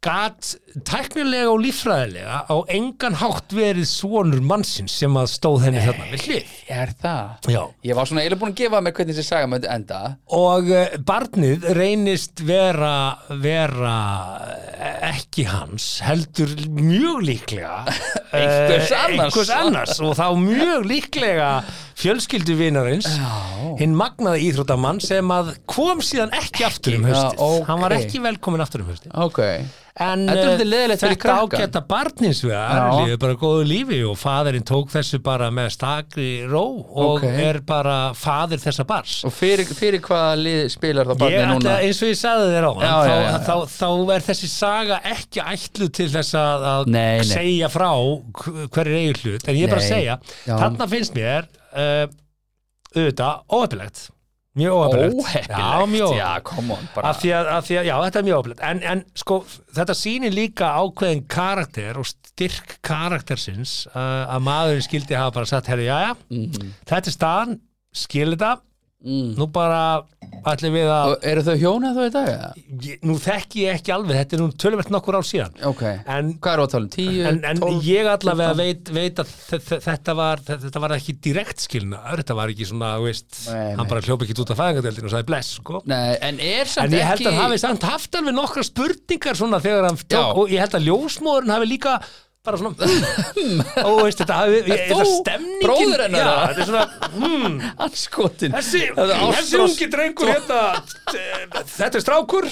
gat tæknilega og líffræðilega á engan hátt verið svonur mannsins sem að stóð henni þarna við hlið.
Er það?
Já.
Ég var svona eiginlega búin að gefa mig hvernig þessi saga myndi enda
Og eh, barnið reynist vera, vera eh, ekki hans, heldur mjög líklega eh,
Einhvers annars.
einhvers annars og þá mjög líklega fjölskylduvinarins, hinn magnaði íþróttamann sem að kom síðan ekki aftur um
Já,
haustið.
ókei.
Hann var ekki velkomin aftur um haustið.
Ok
En
Þetta er
eh,
svolítið leiðilegt fyrir
þetta
krakkann.
ágæta barnins við
Já.
að bara góðu lífi og faðirinn tók þessu bara með stakri ró og
Ókei.
er bara faðir þessa bars.
Og fyrir, fyrir hvaða lið spilar þá
Ég
barnið
ætla,
núna?
eins og ég sagði þér á
Já, já, já, já.
þá, þá, þá er þessi saga ekki ætlu til þess að, að
Nei, nei.
segja frá hverju eigin hlut, en ég er bara að
Nei.
segja
Já.
þarna finnst mér uh, auðvitað, óheppilegt mjög óheppilegt,
Óheppilegt
já, mjög
Já,
óheppilegt
come on bara
Af því að, af því að, já, þetta er mjög óheppilegt en, en sko, þetta sýnir líka ákveðin karakter og styrk eh, karaktersins
Mhm.
uh, að maðurinn skildi hafa bara sagt, herri, já, já, þetta er staðan skil þetta, mm. nú bara ætlum við að
Og eru þau hjóna þau í dag? eða?
ég, nú þekki ég ekki alveg, þetta er nú tölvöld nokkur ár síðan
Ok,
en,
hvað eru að tala um? 10,
en, en
12?
ég allavega veit, veit að þe- þe- þetta var, þe- þetta var ekki direkt skilnaður, þetta var ekki svona þú veist,
Nei, nei.
hann bara hljópa ekki út af fæðingadeldinu og sagði bless sko
Nei, en er samt
En ég held
ekki
að hann hafi samt haft alveg nokkra spurningar svona þegar hann tók
Já.
og ég held að ljósmóðurinn hafi líka bara svona og veist þetta hafi, ég,
þú
þetta stemningin
bróðir hennar,
Já,
eða?
þetta er svona, hmm,
anskotin
þessi,
Það er Sko.
þessi
ástrós-
ungi drengur hérna, t- þetta er strákur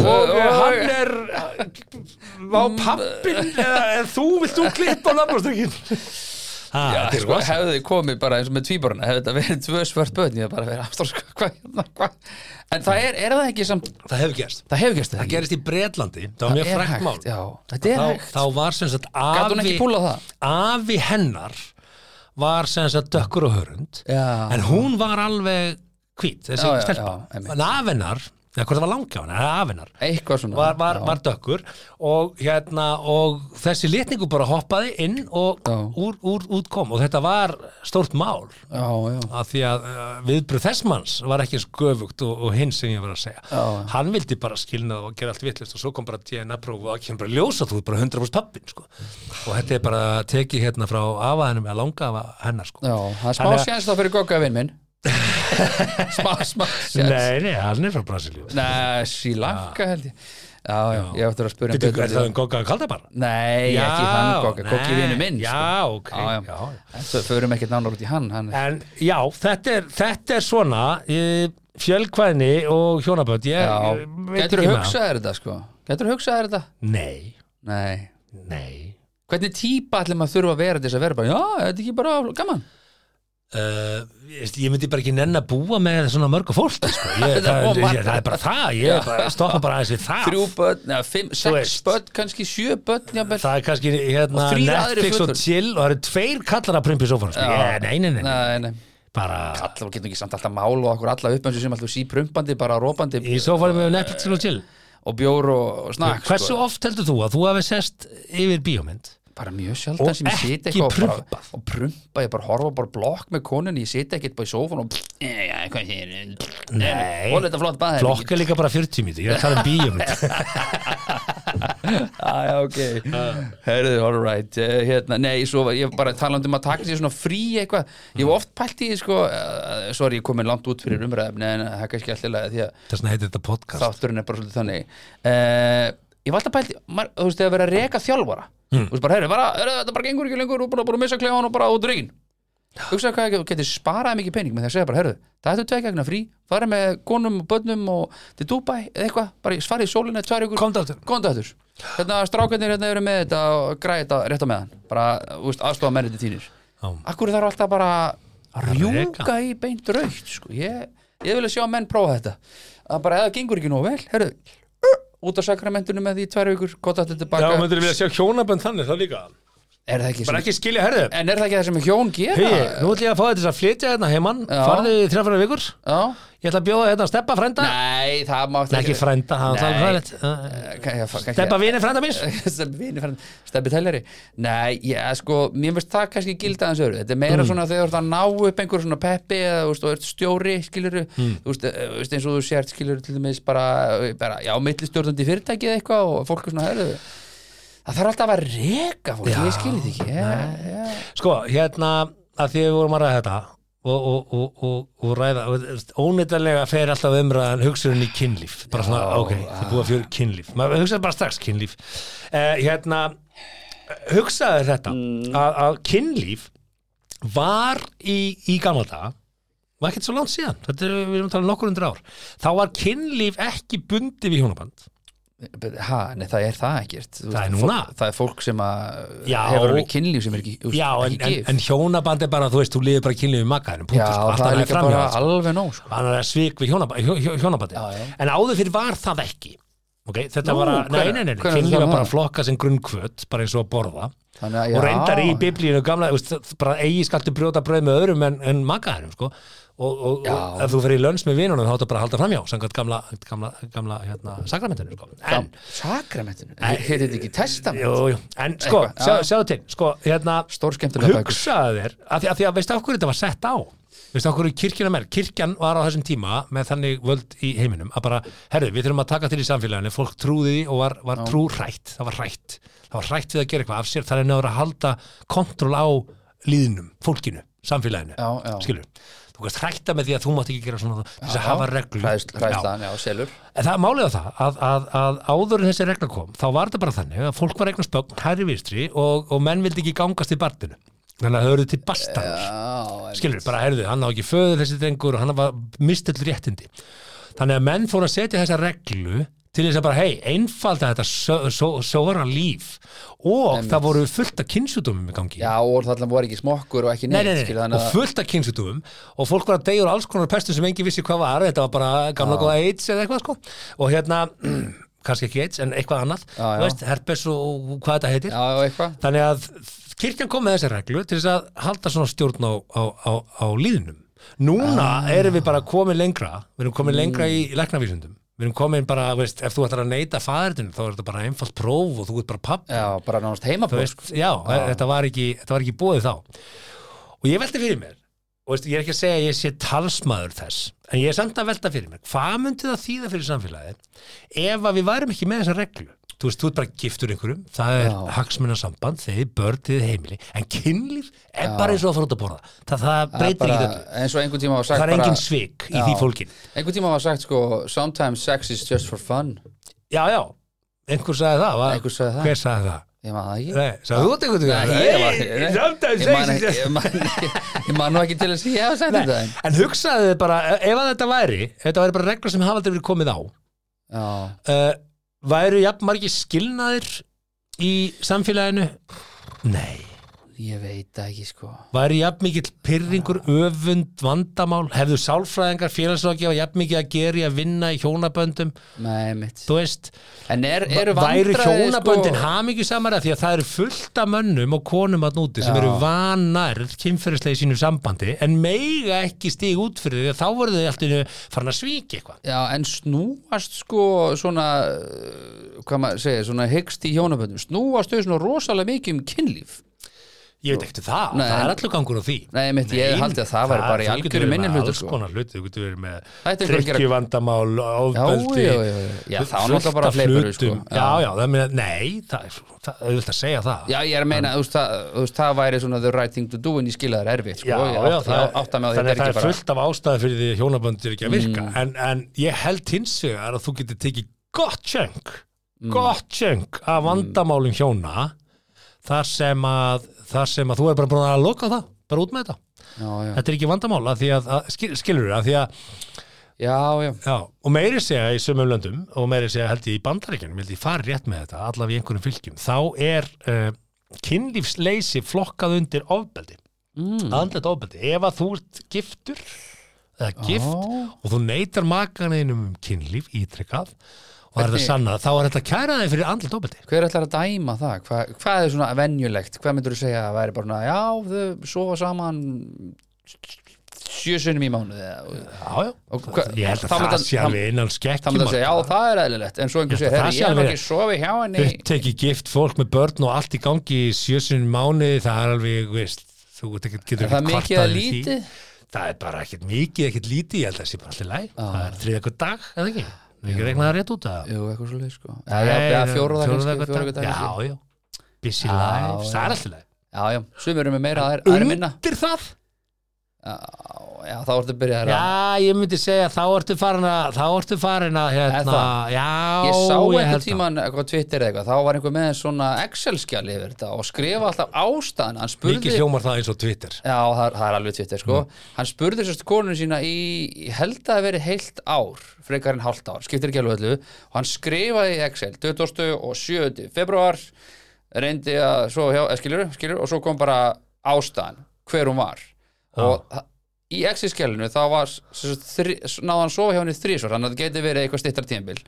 og
Og-
eh, hann er á pappin eða, eða þú vilt þú klippa á nafnastökin Já,
Sko, hefði komið bara eins og með tvíborna hefði þetta verið tvö svört börn ég hefði bara verið aftur sko, hvað, hérna, hvað en það er, er það ekki samt
það hefur gerst
það hefur gerst það
Það
ekki
gerist í Bretlandi, það var mjög
er
frækt mál
hægt, já, þetta er
þá,
hægt
þá var sem sagt
gæti hún
afi
ekki púla það
afi hennar var sem sagt dökkur og hörund
Já.
en hún var alveg hvít þessi
Já, já,
stelpa,
já, einmitt.
en af hennar eða hvort það var langi á hennar, eða af hennar
eitthvað svona
var, var,
já.
var dökkur og, hérna, og þessi litningu bara hoppaði inn og
Já.
úr, úr, út kom og þetta var stórt mál
já, já,
að því að uh, viðbröð þess manns var ekki eins göfugt og, og hinn sem ég var að segja
Já.
hann vildi bara skilna og gera allt vitlist og svo kom bara DNA próf og það kemur bara ljósa þú er bara 100% pappin sko. og þetta er bara tekið hérna frá afa hennum eða langa afa hennar sko.
já það er smá
Þannig að-
séns þá fyrir goggafinn minn smá, smá séns
nei, nei, hann er frá Brasilíu
nei, sílanka held ég já, já, ég ætti að spura um
Bíddu,
betur
er það um Gogga Kaldabar?
nei, ekki hann gogga goggi vinnu minn
já,
sko.
ok
Já, já.
já.
En svo förum ekkert nánar út í hann, hann
En já, þetta er, þetta er svona eh, fjölkvæðni og hjónabönd ég,
Já,
ég veit
getur
ekki
þú
með
hugsað þér þetta sko Getur þú hugsað þér þetta?
það. Nei,
Nei
nei
Hvernig típa allir maður þurfa að vera til þess að vera bara Já, þetta er ekki bara gaman
Uh, veist, ég myndi bara ekki nenn að búa með svona mörgu fólk sko. ég,
Þetta er
það,
of
ég,
margt.
það er bara það, ég er bara, stoppa bara aðeins við það
Þrjú börn, neða, fimm, sex
veist.
börn, kannski sjö börn jafnvel.
það er kannski hérna,
Og þrír aðrir
Netflix og
fullorðnir.
chill og það eru tveir kallar að prumpi sófann sko.
Já.
yeah, nei, nei, nei, nei,
Nei, nei
bara
Allar getum ekki samt alltaf mál og okkur alla upp eins og sem alltaf síprumpandi, bara rópandi
í sófann með Netflix og chill
og bjór og, og snakk
hversu
sko.
oft heldur þú að þú hafi sest yfir bíómynd
Bara mjög sjaldan
Og
sem ég siti
ekki
eitthvað og bara,
prumpað.
og prumpa, ég bara horfa bara blokk með konunni, ég siti ekkert bara í sófan og Já, hvað hér
nei,
Og þetta flott baðið
flokk er líka bara 40 mínútur ég er að tala um bíómynd
Ah, Já, já, ok Herðu, all right uh, hérna, Nei, svo var ég bara talandi um að taka sér svona frí eitthvað Ég hef oft pælt í, því, sko uh, Sorry, ég komin langt út fyrir umræðum En það er kannski allilega því að
þess vegna heitir þetta podcast
þátturinn er bara svolítið þannig uh, Ég hef alltaf pælt, í- maður- þú veist, þegar verið að reka þjálfara
Hmm.
Þú veist bara, herðu, bara, herðu, þetta bara gengur ekki lengur Og bara búin að missa klefan og bara út reygin Hugsaðu hvað ekki, þú getur sparað mikið pening með því að segja bara, herðu, það ættu tvekjagna frí fara með konum og börnum og til Dubai eða eitthvað, bara svarið í sólinni, tvær ykkur
komdu aftur
Góðan dættur Hérna strákarnir hérna eru með þetta og græði þetta rétt á meðan bara, þú veist, aðstofa menniti þínir
Já.
Akkur þarf alltaf bara að
Að
rjúka í beint raukt sko. ég, ég vilja sjá menn prófa þetta að bara eða gengur ekki nóg vel herru, út á sakramentinu með því í tvær vikur, gott aftur
já,
tilbaka
myndir við að sjá hjónabönd þannig þá líka
er það ekki
bara
sem,
ekki skilja herðu
en er það ekki það sem hjón gera?
Hei, nú ætlum ég að fá þetta til að flytja hérna heimann
eh, Já.
Farðu í þrjáfæra vikur
Já.
Ég ætla að bjóða hérna að steppa frænda
Nei, það mátt
Nei, ekki frænda, það er
Nei. Eh,
alveg fræðilegt
frænda
Eh, Steppa vini frænda míns
steppi tælari nei, ég, sko, mér finnst það kannski gilda aðeins öðru, þetta er
Mm.
meira svona þegar þú ert að ná upp einhver svona peppi eða þú veist, og ert stjóri skilur,
Mm.
þú veist, eh, veist, eins og þú sért skilur til dæmis bara, eh, bara já, milli stjórnandi fyrirtæki eða eitthvað og fólk er svona herðu það þarf alltaf að reka fólk, ég skilir þið ekki ég, ég.
Sko, hérna, að því við vorum að ræða þetta og, og, og, og, og ræða og, þú veist, óneitanlega fer alltaf umræðan hugsurinn í kynlíf bara svona,
Já,
ok, það er búið að fyrir kynlíf maður hugsaði bara strax kynlíf eh, hérna, hugsaði þetta
Mm.
að, að kynlíf var í, í gamla daga var ekkert svo langt síðan, þetta er, við erum að tala um nokkur undir ár þá var kynlíf ekki bundið við hjónaband
ha, nei, það er það ekkert Þú
Það er
veist,
núna.
fólk, það er fólk sem að
Já.
hefur alveg kynlíf sem er ekki, þú veist,
Já, en,
ekki
en,
gift.
en hjónaband er bara, þú veist, þú lifir bara kynlíf við makkaðinum, punktur,
já,
sko, allt
það er
annað
líka
framhjá,
bara
sko.
alveg nóg sko.
hann er að svik við hjónab hjó, hjó, hjónabandi
Já, já.
en áður fyrir var það ekki okay? þetta
Nú,
var að, nei, nei,
hvenær-
nei, nei
hvenær
kynlíf
það
var bara
var?
flokka sem grunnkvöt bara eins og að borða
Þannig að-
og
já.
reyndar í biblíinu gamla þú veist, það- bara eigi skaltu brjóta bröð með öðrum en, en makaðinum sko og, og, og
Já.
ef þú fyrir í lönns með vinunum þá áttu bara að halda framjá samkvæmt gamla, gamla, gamla hérna, sakramentinu sko. en,
Sakramentinu? Heitir þetta ekki testament?
jú, jú, en sko,
Eitthvað,
sjá-
já.
sjáðu til sko, hérna,
Stór skemmtilega bækur
hugsaðu þér að því að, því að veist af hverju þetta var sett á Veistu, okkur er kirkjuna merk, kirkjan var á þessum tíma með þannig völd í heiminum að bara, herðu, við þurfum að taka til í samfélaginu fólk trúði því og var, var trú rætt það var rætt, það var rætt við að gera eitthvað af sér það er náður að halda kontrol á líðnum, fólkinu, samfélaginu
Já, já.
skilur, þú kannast rætta með því að þú mátt ekki gera svona, til þess að
Já.
hafa reglum
Hræðsl-
Já.
hræðslan, já, selur
En það er málið á það að, að, að áður en þessi regla kom þá var þetta bara þannig að fólk var eignar spögn hæri vistri og, og menn vildi ekki gangast í bartinu þannig að þau eru til bastarður
Já,
skilur, bara herðu, hann á ekki föður þessi drengur og hann var mistill réttindi þannig að menn fóru að setja þessa reglu til þess að bara, hei, einfalda þetta sö- só- sóra líf og það voru fullt af kynsjúdómum í gangi
já og það var ekki smokkur og ekki
Nei,
neitt
nei,
skilur,
nei,
þannig
og
að-
fullt af kynsutúfum og fólk var að deyja úr alls konar pestum sem engin vissi hvað var, þetta var bara gamla góða AIDS eða eitthvað sko og hérna, kannski ekki AIDS en eitthvað annað,
Já, já.
þú veist, herpes og hvað þetta heitir
Já, já, eitthvað
þannig að kirkjan kom með þessa reglu til þess að halda svona stjórn á, á, á, á líðnum núna
Ah.
erum við bara komin lengra við erum komin lengra í
Mm.
læknavísundum við erum komin bara, þú veist, ef þú ætlar að neita fæðirinn þá er þetta bara einfalt próf og þú ert bara papp
Já, bara nánast
þú
heimapróf
veist, já, þetta var ekki þetta var ekki búið þá og ég velti fyrir mér og veist, ég er ekki að segja að ég sé talsmaður þess en ég er samt að velta fyrir mér hvað myndi það þýða fyrir samfélagið ef að við værum ekki með þessa reglu þú veist, þú ert bara giftur einhverjum það er
Já.
hagsmunasamband, þið börn, þið heimili en kynlíf er bara eins og að fara út að borða það, það
Það er
breytir
bara-
ekki þetta
eins og einhvern tíma var sagt
það er
bara-
engin svik í
Já.
því fólkin
einhvern tíma var sagt sko sometimes sex is just for fun
já, já, einhver sagði það, var,
Einhver sagði það.
hver sagði það?
ég man það ekki
Nei, sagði þú þetta einhvern
Nei,
veginn?
ég var-
Nei, sometimes
Ég man
sex is
ekki-
just-
ég man ekki- ég man nú ekki til þess að ég hafa sagt
Nei,
þetta en-
en hugsaðu þið bara, e, ef að þetta væri ef þetta væri bara regla sem hafa aldrei verið komið á
já,
uh, væru jafn margir skilnaðir í samfélaginu nei,
ég veit það ekki sko
væru jafn mikill pyrringur, öfund, vandamál hefðu sálfræðingar, félagsrákja jafn mikið að gera í að vinna í hjónaböndum
nei mitt
þú veist,
en er, eru
væru
vandræði
hjónaböndin
sko,
hamingju samar því að það eru fullt af mönnum og konum að núti sem
Já.
eru vanarð kynferðislega í sínu sambandi en meiga ekki stig út fyrir því að þá voru þau alltaf farin að svíki eitthvað
já, en snúast sko svona uh, hvað maður segja, svona hyggst í hjónaböndum snúast þau svona rosalega mikið um kynlíf
Ég veit ekkert um það,
Nei.
það er allur gangur á því
Nei, mitt, ég haldi að það væri bara í
þú getur
algjöru
verið með
minnihluta,
Alls
sko.
konar hluti, þú getur verið
Þetta
með
er einhver að gera-
tryggivandamál,
já,
ofbeldi
já, já, já. Já, það var
fullt
náttúrulega bara
af
fleipur,
hlutum.
sko.
Já,
Já.
já, það meina, nei, það er það er auðvitað að segja það
já, ég er að meina, þú veist, það, þú veist, það væri svona the right thing to do en ég skila þær erfitt sko,
Já,
ég
já,
átta-
það,
ég átta mig á því,
þannig að það
þetta ekki
er
bara- Mm.
fullt af ástæði fyrir því að hjónaböndir ekki að virka en, en ég held hins vegar að þú getur tekið gott sjöng
Mm.
gott sjöng af vandamálum hjóna þar sem að þar sem að þú er bara búin að loka á það bara út með þetta
já, já.
þetta er ekki vandamál að því að, að skil, skilur að því að,
já, já,
já, og meiri segja í sömum löndum og meiri segja held ég í bandaríkjunum held ég fari rétt með þetta, allavega í einhverjum fylgjum þá er uh, kynlífsleysi flokkað undir ofbeldi mm. andlet ofbeldi, ef að þú ert giftur eða gift og þú neytar makaninum um kynlíf ítrekkað og það er
Hvernig-
þetta sannað, þá er þetta kæraði fyrir andlet ofbeldi
Hver ætlar að dæma það? Hva, hvað er svona venjulegt? Hvað myndur þú segja að væri bara svona, já, þau sofa saman sjö sunnum í mánuði eða-
já, já,
Og hva-
ég held að
þá
það,
myndi-
sé
þá-
alveg innan
þá myndi að
skekkjum
segja, já, það er eðlilegt en svo einhver
Ég held
segja,
að
herri,
það sé
ég hef
alveg-
ekki sofið hjá henni
uppteki gift fólk með börn og allt í gangi í sjösun mánuði, það er alveg veist, þú ert ekkert- getur
Er það
ekkert
mikið að
kvartað yfir því.
lítið?
það er bara ekkert mikið, ekkert lítið ég held að það sé bara allir læg,
Ah.
það er þriða eitthvað dag eða ekki, við ekki regnaði rétt út að
Jú, eitthvað svo leið, sko Já, já, já, fjóruða kannski, fjóruða
dag,
kannski
já, já busy
Já,
life,
já.
það er allir læg
Já, já, sumir eru með meira, aðrir- aðrir minna
undir það,
Já, já, þá ertu að byrja
já,
þér að
ég myndi segja þá ertu farin að, þá ertu farin að
Er
hérna,
það?
já,
Ég sá
held
einhver
það.
tíman, eitthvað Twitter eða eitthvað, þá var einhver með svona Excel-skjali yfir þetta og skrifa alltaf ástæðan, hann
mikið
spurði
hljómar það eins og Twitter
Já, það, er- það er alveg tvittir sko Hann spurði sérst konun sína í ég held að það veri heilt ár frekar en hálft ár, skiptir ekki alveg öllu og hann skrifaði í Excel 20. og 7. februar reyndi að, svo hjá, eh, skilur, skilur og svo kom bara ástæðan hver hún var og það- í Excel-skjælinu þá var sérst, þri, náði hann sofa hjá henni þrísvar þannig að það geti verið eitthvað stittar tímabil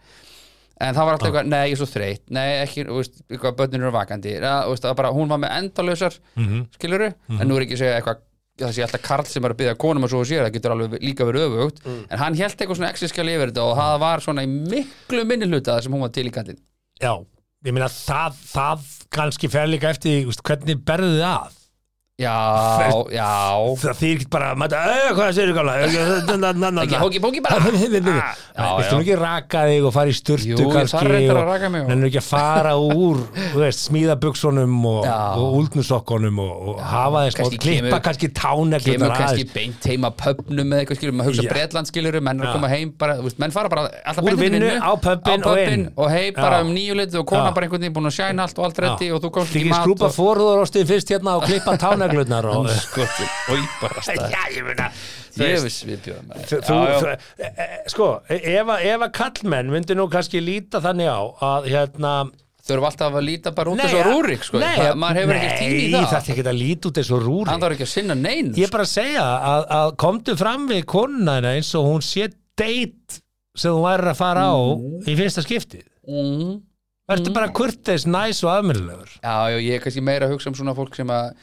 en það var alltaf eitthvað, nei ég er svo þreytt nei ekki, þú veist, eitthvað börnin eru vakandi ja, þú veist, það var bara, hún var með endalausar mm en nú er ekki að segja eitthvað það sé alltaf Karl sem er að byggja konum að svo sér það getur alveg líka verið öfugt en hann held eitthvað svona exiskjali yfir þetta og það var svona í miklu minni hluta það sem hún var til í kallin
Já, ég meina það, það kannski fer líka eftir því, þú veist, hvernig berðu þið að
já, já
það þýr ekki bara að mæta "Eh, hvað það segir gamla
ekki
ekki
hóki bóki bara já,
Viltu nú ekki raka þig og fara í sturtu
Jú, ég
kannski
þarf reyndar að
og-
raka mig og-
Nennirðu ekki að fara úr þú veist, smíða buksunum og,
Já.
og úldnusokkunum og, og hafa þess
kannski
og klippa
kemur-
kannski táneglurnar
kemur kannski
aðeins.
beint heima pöpnum eða eitthvað skilur, maður hugsa
Já.
Bretland skilur menn er að
Já.
koma heim bara, þú veist, menn fara bara alltaf
Úr
beint til
vinnu, á pöbbinn og
pöbbinn
inn.
og heim
Já.
bara um nýju litið og kona
Já.
bara einhvern veginn búin að shine allt og allt reddi og þú komst ekki í
Þykir
mat
skrúpa
og
forðurostið fyrst hérna og klippa táneglurnar og
skotum, oi bara stað
já, ég meina þú
ég
veist,
veist við bjóðum
Þú, þú, e- e- sko, ef að- ef að kallmenn myndi nú kannski líta þannig á að hérna
þau eru alltaf að líta bara út
Nei,
þessu
að-
rúrik sko,
nei,
það,
að-
maður hefur ekki tími í
Nei,
það
það er ekki að líta út eins og rúrik
hann þarf ekki að sinna nein
Ég er bara að segja að, að komdu fram við konuna hennar eins og hún sé date sem hún væri að fara á í fyrsta skiptið
mm.
Vertu bara kurteis, næs og afmyrðilegur
Já, já, ég er kannski meira að hugsa um svona fólk sem að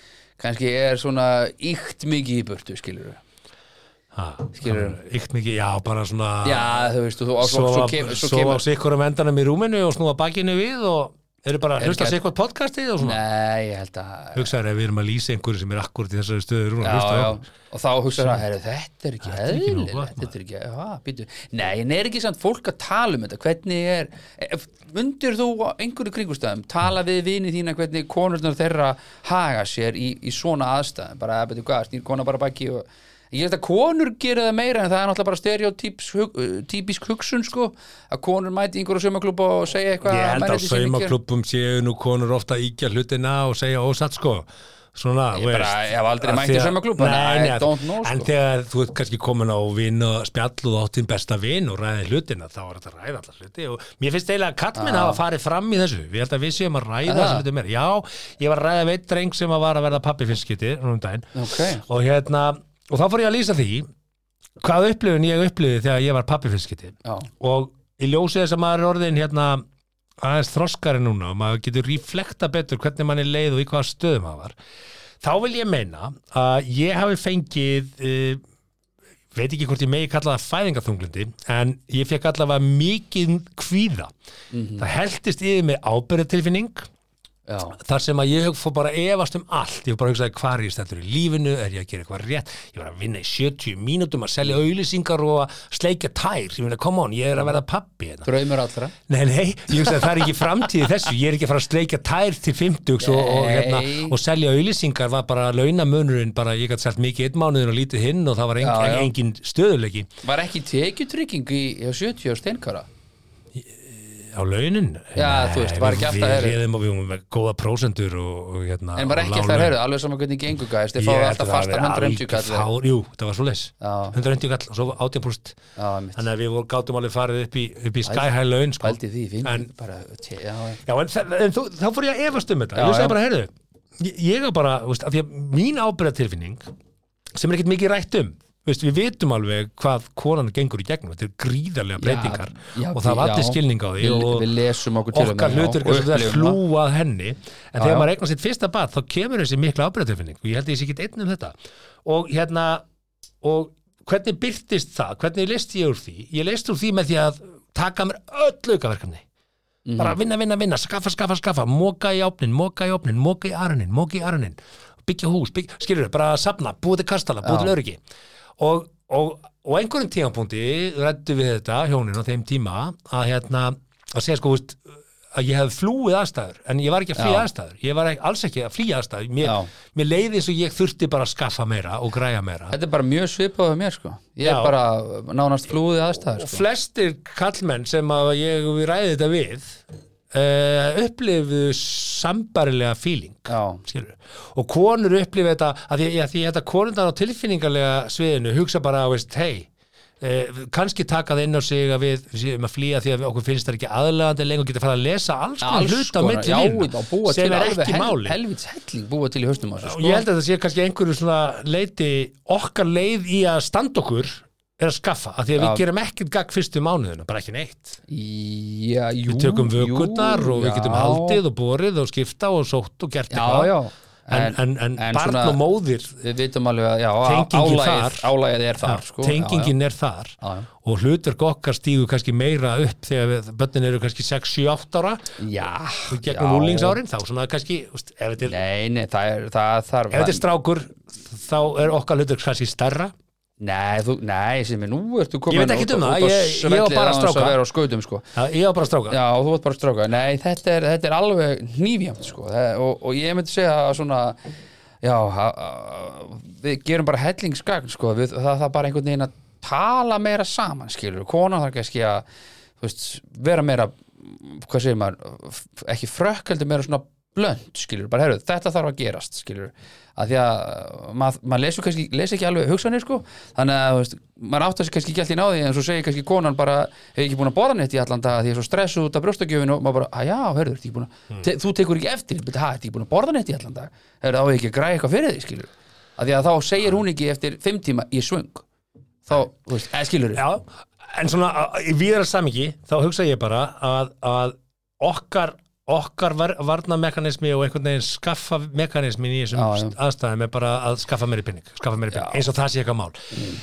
kannski er svona íkt mikið í burtu, skilur Skilurðu?
Íkt mikið, já, bara svona
Já, þú veist, og þú, og, svo, svo,
Sofa
kemur, svo
sofa á
kemur
sikkur um endanum í rúminu og snúa bakinu við og eru bara
Er
að hlusta
ekki-
sikkur podcastið og svona
Nei, ég held að
Hugsaður ef við erum að lýsa einhverju sem er akkurat í þessari stöðu rúna
Já, já, og þá hugsa það, herru, þetta er ekki
er ekki nógu
eðlilegt,
gott,
þetta er ekki, já, býtu Nei, en er ekki samt fólk að tala um þetta, hvernig er ef- Mundir þú á einhverju kringustæðum tala við vini þína hvernig konurnar þeirra haga sér í, í svona aðstæðum bara, betur hvað, snýr kona bara baki og Ég held að konur gera það meira en það er náttúrulega bara stereotyps hug, uh, típisk hugsun sko að konur mæti í einhverju saumaklúb og segja eitthvað
Ég held að
mennirnir sínu gera.
saumaklubbum séu nú konur ofta að íkja hlutina og segja ósatt sko Svona,
Ég bara, ég hef aldrei
Af
mætt í
því að-
saumaklúbb,
Nei,
þannig að I
nei,
don't know,
En
sko.
þegar þú ert kannski komin á vinn og spjall og áttinn besta vinn og ræði hlutina þá er þetta að ræða allar hluti og mér finnst eiginlega að kallmenn hafa farið fram í þessu Við held að við séum að ræða
Aha.
þessu hluti meir Já, ég var að ræða veit dreng sem að var að verða pappi finnskiti um daginn
Ókei.
og hérna, og þá fór ég að lýsa því hvað upplifun ég upplifði þegar ég var pappi finnskiti
Já,
og í ljósi þess að maður er orðin hérna aðeins þroskari núna og maður getur reflekta betur hvernig manni leið og í hvaða stöðum maður var þá vil ég meina að ég hafi fengið uh, veit ekki hvort ég megi kalla það fæðingaþunglindi en ég fekk allavega mikið kvíða það heldist yfir mig ábyrðatilfinning
já,
þar sem að ég fór bara að efast um allt ég fór bara að hugsaði hvað er ég stættur í lífinu er ég að gera eitthvað rétt, ég var að vinna í 70 mínútum að selja auðlýsingar og að sleikja tær, ég meina, come on, ég er að verða pappi hérna.
draumur allra
Nei, nei, ég hugsaði það er ekki framtíði þessu, ég er ekki að fara að sleikja tær til 50 og, og, hérna,
Nei.
og selja auðlýsingar var bara launamönurinn, bara ég gæti selt mikið einn mánuðin og lítið hinn og það var engin,
Já, já.
engin stöðuleiki
Var ekki tekjutrygging í, í 70 á steinkara?
á launin.
Já, þú veist, var ekki alltaf
Við
herri.
réðum og við vorum með góða prósendur og, og hérna.
En var
og
ekki
lág
alltaf að
laun.
höra, alveg saman hvernig gengur gæst, þið
Ég
fáið
held
alltaf
að það
fasta
hafi
150
algjör
kall
fár- Jú, það var svo leys
Já.
150 kall og svo 18%
Já, mitt.
Þannig að við voru- gátum alveg farið upp í, upp í sky high laun sko.
Pældi því, finn
En-
bara, te, já,
Já, en, þa- en þú, þá fór ég að efast um þetta
Já,
Ég
já.
sagði bara, heyrðu ég- Ég er bara, þú veist, af því að mín ábyrðatilfinning sem er ekkert mikið rætt um þú veist, Við vitum alveg hvað konan gengur í gegnum Þetta er gríðarlega breytingar
já,
og það var
já.
allir skilning á því
Við-
og
við lesum okkur til um
okkar
það, já,
hlutur
og
sem það
upplifum
flúa að henni en
já.
þegar maður eignast sitt fyrsta bad þá kemur þessi mikla ábyrðatilfinning og ég held að ég sé ekki einn um þetta og hérna og hvernig byrtist það, hvernig leist ég úr því ég leist úr því með því að taka mér öll aukaverkefni
Mhm.
bara vinna, vinna, vinna, skaffa, skaffa, skaffa móka í opnin, móka í opnin, móka í arnin móka í arnin, byggja hús, byggja skilur þau, bara að safna, búið til kastala, búið til öryggi og, og, og einhverjum tímapunkti rættu við þetta hjónin á þeim tíma að hérna að segja sko, þú veist að ég hef flúið aðstæður, en ég var ekki að flýja
Já.
aðstæður ég var ekki, alls ekki að flýja aðstæður
Já.
mér, mér leiði eins og ég þurfti bara að skaffa meira og græja meira
Þetta er bara mjög svipað á mér, sko Ég
Já.
er bara nánast flúðið aðstæður,
og
sko
flestir kallmenn sem að ég við ræði þetta við uh, upplifu sambarilega feeling
Já,
skilur. og konur upplifu þetta að því, að því þetta konundar á tilfinningarlega sviðinu hugsa bara veist, hei Uh, kannski taka það inn á sig að við séum að flýja því að við- okkur finnst það ekki aðlegandi lengur og geta fara að lesa alls konar
alls
hluta á
konar,
milli
já,
línanna,
og búa til
sem er
alveg
ekki
hel,
máli
helvits helling búa til í haustum á þessu,
og
sko
ég held að það sé kannski einhverju svona leiti okkar leið í að standa okkur er að skaffa, af því að
Já.
við gerum ekkert gagg fyrstu mánuðina, bara ekki neitt
Já, jú
við tökum
jú,
vökurnar og við
já.
getum haldið og borið og skipta og sótt og gert
Já, já,
en, en, en,
en
barn
svona-
og móðir
við vitum alveg að já, á-
Tengingin
álægið,
þar.
álægið er þar sko.
tengingin er þar
Já, já.
og hlutverk okkar stígu kannski meira upp þegar við, börnin eru kannski 6-7-8 ára
já,
og
já,
gegnum úlingsárin þá svona kannski, þú veist, ef þetta er,
nei, nei, það er það þarf
ef þetta er strákur þá er okkar hlutverk kannski stærra
nei, þú, nei, sem er nú ertu komin
Ég veit ekkert um það, ég- ég á
ég var
bara
bara
stráka.
stráka skautum, sko.
Já, ég var bara stráka
já, og þú ert bara stráka nei, þetta er, þetta er alveg nýfjamt sko. Það- og, og ég myndi segja að svona já, a, a, við gerum bara hellingsgagn sko. við, það, það er bara einhvern veginn að tala meira saman skilur, konan þarf kannski að þú veist, vera meira hvað segir maður, f- ekki frökkeldur meira svona blönd, skilur, bara herrðu þetta þarf að gerast, skilur að því að maður mað lesur kannski les ekki alveg hugsanir, sko, þannig að þú veist, maður áttar sig kannski ekki alltaf í náði en svo segir kannski konan bara, hef ekki búin að borða neitt í allan dag því ég er svo stressuð út af brjóstakjöfinu og maður bara, að já, herrðu, ertu ekki búin að te, þú tekur ekki eftir, betur, ha, ertu ekki búin að borða neitt í allan dag herrðu, á ég ekki að græja eitthvað fyrir því, skilur að því að þá segir hún ekki eftir fimm tíma ég er svöng, þá, þú veist, eða skilur
Já, en svona a- í viðra samingi þá hugsa ég bara að, að okkar, okkar var, varnamekanismi og einhvern veginn skaffa mekanismin í þessum
Já, já.
st- aðstæðum er bara að skaffa meiri pinning, skaffa meiri pinning
Já.
eins og það sé eitthvað mál mm.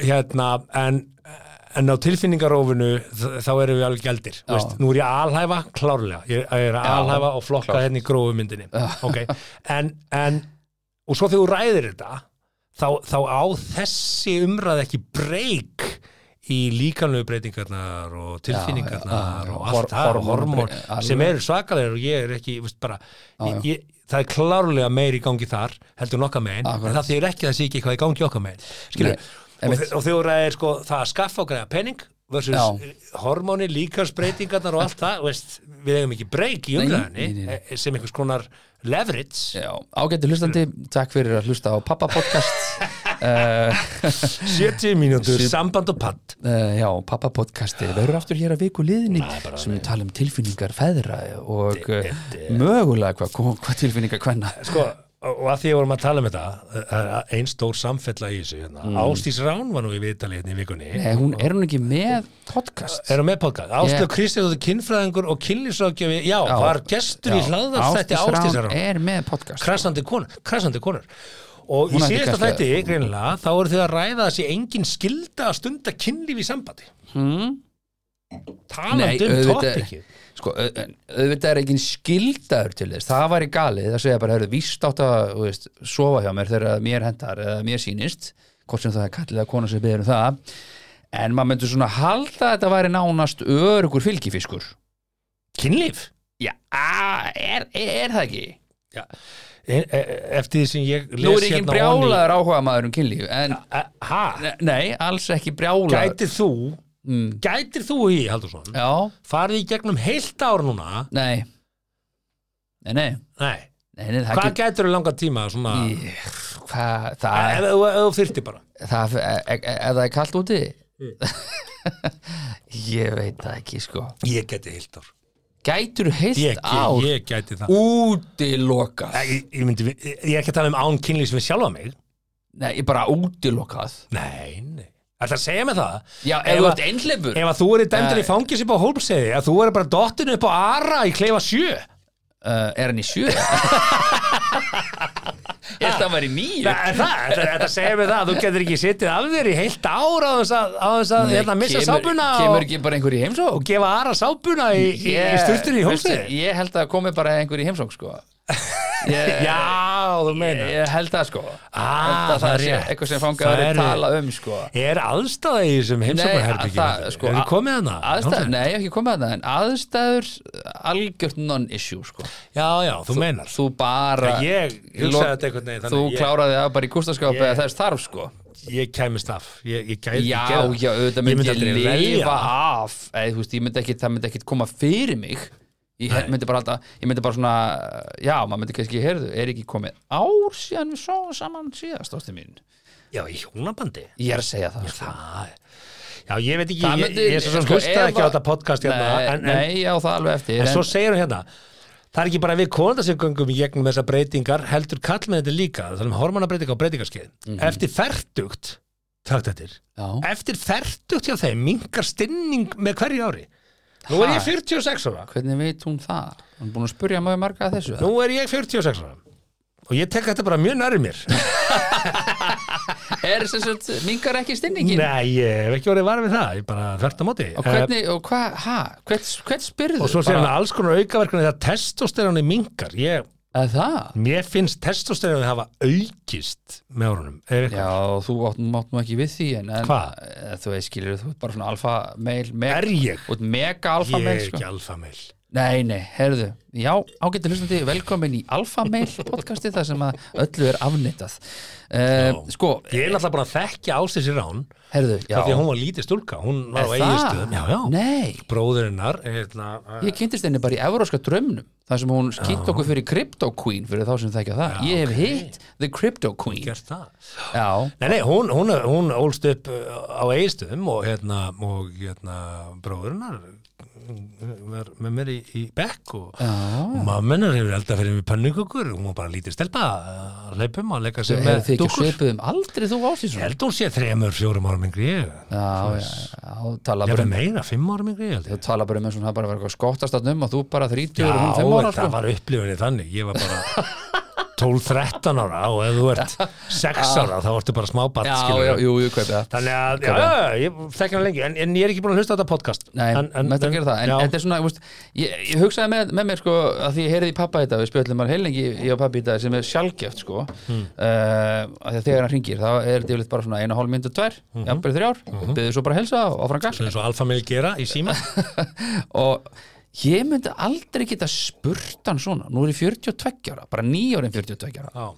hérna, en, en á tilfinningarófinu þ- þá erum við alveg gældir
Já.
veist, nú er ég að alhæfa klárlega ég er- ég er að
Já,
alhæfa og flokka
klárt.
hérna í grófu myndinni okay. en, en og svo þegar þú ræðir þetta þá, þá á þessi umræð ekki breyk í líkanlegu breytingarnar og tilfinningarnar
Já, já, já, já.
og
Hor-
allt það, og
hormón-
hormón sem eru svakalegir og ég er ekki, veist bara ég, ég, það er klárlega meir í gangi þar heldur nokka megin,
Akkurat.
en það þýr ekki að það sé ekki eitthvað í gangi okkar megin, skilur
Nei,
og,
einmitt.
þe- og þegar það er sko, það að skaffa okkar penning versus
Já.
hormóni, líkansbreytingarnar og allt það, veist, við eigum ekki breyk í
Nei, nei,
umræðinni
nei,
eh, sem einhvers konar leverage
Já, ágættu hlustandi, takk fyrir að hlusta á Pappa Podcast uh,
70 mínútur,
Sjö-
samband og patt
uh, Já, Pappa Podcasti verður aftur hér að viku liðinni sem við tala um tilfinningar feðra og uh, mögulega hvað hva, hva tilfinningar hvenna
sko, og og að því að vorum að tala um þetta það er einn stór samfella í þessu hérna.
Mm.
Ástís Rán var nú í viðtalið hérna í vikunni
Nei, Eh, hún er hún ekki með podcast
Erum með podcast, Áslöf
Ég-
yeah. Kristjáður kynfræðingur og kynlýsrákjöfi, já,
Já.
var gestur í
Já,
hlaðarstætti
Ásdís Rán
Ástísar Rán,
er með podcast
krassandi konur, krassandi konur og í
Hún ætti
síðasta
kannski að-
þætti, greinilega, þá eru þið að ræða þessi engin skilda að stunda kynlíf í sambandi
hmm? Nei,
talandi um
auðvitað-
topikið
sko, au- en auðvitað er ekki skildaður til þess, það væri galið að segja bara, heyrðu, víst átt að þú veist, sofa hjá mér þegar mér hentar eða mér sýnist, hvort sem það er kallið að kona sem beður um það en maður myndi svona halda að þetta væri nánast örugur fylgifiskur
Kynlíf?
já, a, er, er, er það ekki?
Já. E e eftir því sem ég les hérna
Nú er ekki
ofan í-
brjálaður áhuga maður um kynlíf en,
E- Ha?
nei, alls ekki brjálaður
Gætir þú
mm,
gætir þú í, Haldursson
já,
farið í gegnum heilt ár núna
nei nei, nei,
nei,
nei, nei það
hvað gætir þú langa tíma svona,
get- Í- hvað, það
ef ef- ef þú þyrfti bara
það, ef, ef ef það er kallt úti
Hm.
ég veit það ekki sko
ég gæti heilt ár
gætur heilt
ég,
ár
ég, ég gæti það
útilokað
Nei, ég, ég, myndi, ég, ég er ekki að tala um án kynlýs við sjálfa mig
nei, ég bara útilokað
nei, nei Það að segja mig það
já, ef
ef,
þú
að,
ert einhleifur
ef að þú eru dæmdur í fangis upp á hólpseði að þú eru bara dottinu upp á ara í kleifa sjö
uh, er hann í sjö ég held að væri nýju
Nei, það, þetta, þetta segir mig það að þú getur ekki sittið af þér í heilt ár á þess að, á þess að hérna, missa sápuna
kemur
og,
ekki bara einhver í heimsók
og gefa aðra sápuna í, í, í sturtunni í hólpseði
ég held að komi bara einhver í heimsók sko ég,
Já, þú meina
ég held að sko
ah,
að það sé eitthvað sem fangaður
Það
er
eru-
tala um sko
Er aðstæða í þessum
það,
heimsóknarherbyggjum?
sko,
er þið
að-
komið hana?
aðstæður, nei, ég hef ekki komið að það en aðstæður algjört non-issue sko.
Já, já, þú meinar
þú bara
Ég
lok-
hugsaði þetta einhvern veginn
þú
þannig að
kláraði það bara í kústaskap
Ég-
eða þess þarf sko
ég, ég kæmist af Ég, ég gæti
já,
gera það.
já, auðvitað myndi ég,
aldrei velja
lifa
það.
af eða, þú veist, ég myndi ekki, það myndi ekki koma fyrir mig ég
Nei.
myndi bara alltaf ég myndi bara svona, já, maður myndi kannski heyrðu, er ekki komið ár síðan við svo saman síðast ástu mín
Já, í hjónabandi
ég er að segja það, sko.
Það Já, ég veit ekki,
Það
ég,
myndi-
ég, ég svo sem
sko,
hlustaði
ef
ekki á
að-
þetta podcast hérna,
nei,
en, en,
nei, já, það alveg eftir
en, svo segir hún hérna Það er ekki bara við konanda sem göngum í gegnum þessar breytingar heldur kall með þetta líka, það er um hormonabreytinga og breytingarskeið.
Mhm.
Eftir fertugt takt eftir,
já,
eftir fertugt hjá þeim minkar stinning með hverju ári nú er
Ha?
ég 46 ára
hvernig veit hún það? Hún er búin að spurja maður marga að þessu
nú er ég 46 ára og ég tek þetta bara mjög nærið mér
Er sem sagt, mingar ekki stinningin?
Nei, ég hef ekki orðið varð við það, ég bara þvert á móti
Og hvernig, og hvað, hæ, hvert, hvert spyrðu?
Eh, og svo sér hann
Bara,
að alls konar aukaverkuna þegar testosteroni mingar ég,
að það?
mér finnst testosteroni hafa aukist með árunum er eitthvað
Já, þú átt, mátt nú ekki við því en, en
Hvað?
eh, Þú veist, skilur, þú ert bara svona alfa meil meg,
Er ég?
Þú ert mega
Ég
alfa meil
er
sko.
ekki alfameil
Nei, nei, heyrðu Já, ágættu hlustandi, velkomin í alfa meil podcasti þar sem að öllu er afnitað uh,
Já.
Sko,
Ég er náttúrulega bara að þekkja ástísi rán
heyrðu já.
Það því að hún var lítið stúlka, hún var á
Er
eigiðstöðum Já, já,
Nei,
bróðurinnar hérna, eh,
ég kynntist henni bara í evróska drömmnum þar sem hún kynnt okkur fyrir Crypto Queen fyrir þá sem þekkja það, ég hef hitt The Crypto Queen
gert það
Já,
Nei, nei, hún, hún, hún ólst upp uh, á eigiðstöðum og hérna, og hérna bróðurinnar var með mér í, í bekk og mammenar hefur alltaf fyrir mig pannungukur hún var bara lítið stelpa uh, að hlaupum að leika sér
hefur
með
þið ekki
dúkkur
svipið um aldrei þú
Ég
ásins Já,
held hún sé þremur, fjórum árum yngri ég
já, já, þú tala
Ég
bara
verið
um
meira, fimm árum yngri ég held ég
þú tala bara um eins og það bara verið eitthvað skottastatnum um og þú bara 30
Já,
og hún 5 ára
það
sko.
var upplifunni þannig Ég var bara 12-13 ára og ef þú ert 6 ára þá ertu bara smábatt
Já, já, jú, jú, kaupið það
Þannig að, já, já, já, ég þekki hann lengi en, en ég er ekki búin að hlusta á þetta podcast
Nei,
en, en,
mættu að gera það, en
já,
þetta er svona, þú veist, ég, ég hugsaði með, með mér sko að því ég heyrði í pappa þetta, við spjöllum hann heilengi ég og pappa í dag sem er sjálfgeft sko hmm. að því að þegar hann ringir þá er þetta yfirleitt bara svona eina hálf myndu tvær
Mhm.
mm -hmm. jafnbyrði þrjár, mm byrði svo bara að helsa og áfram gas
svona eins og alfamil gera í síma
og ég myndi aldrei geta spurt hann svona, nú er ég 42 ára bara nýjórinn 42 ára
Já,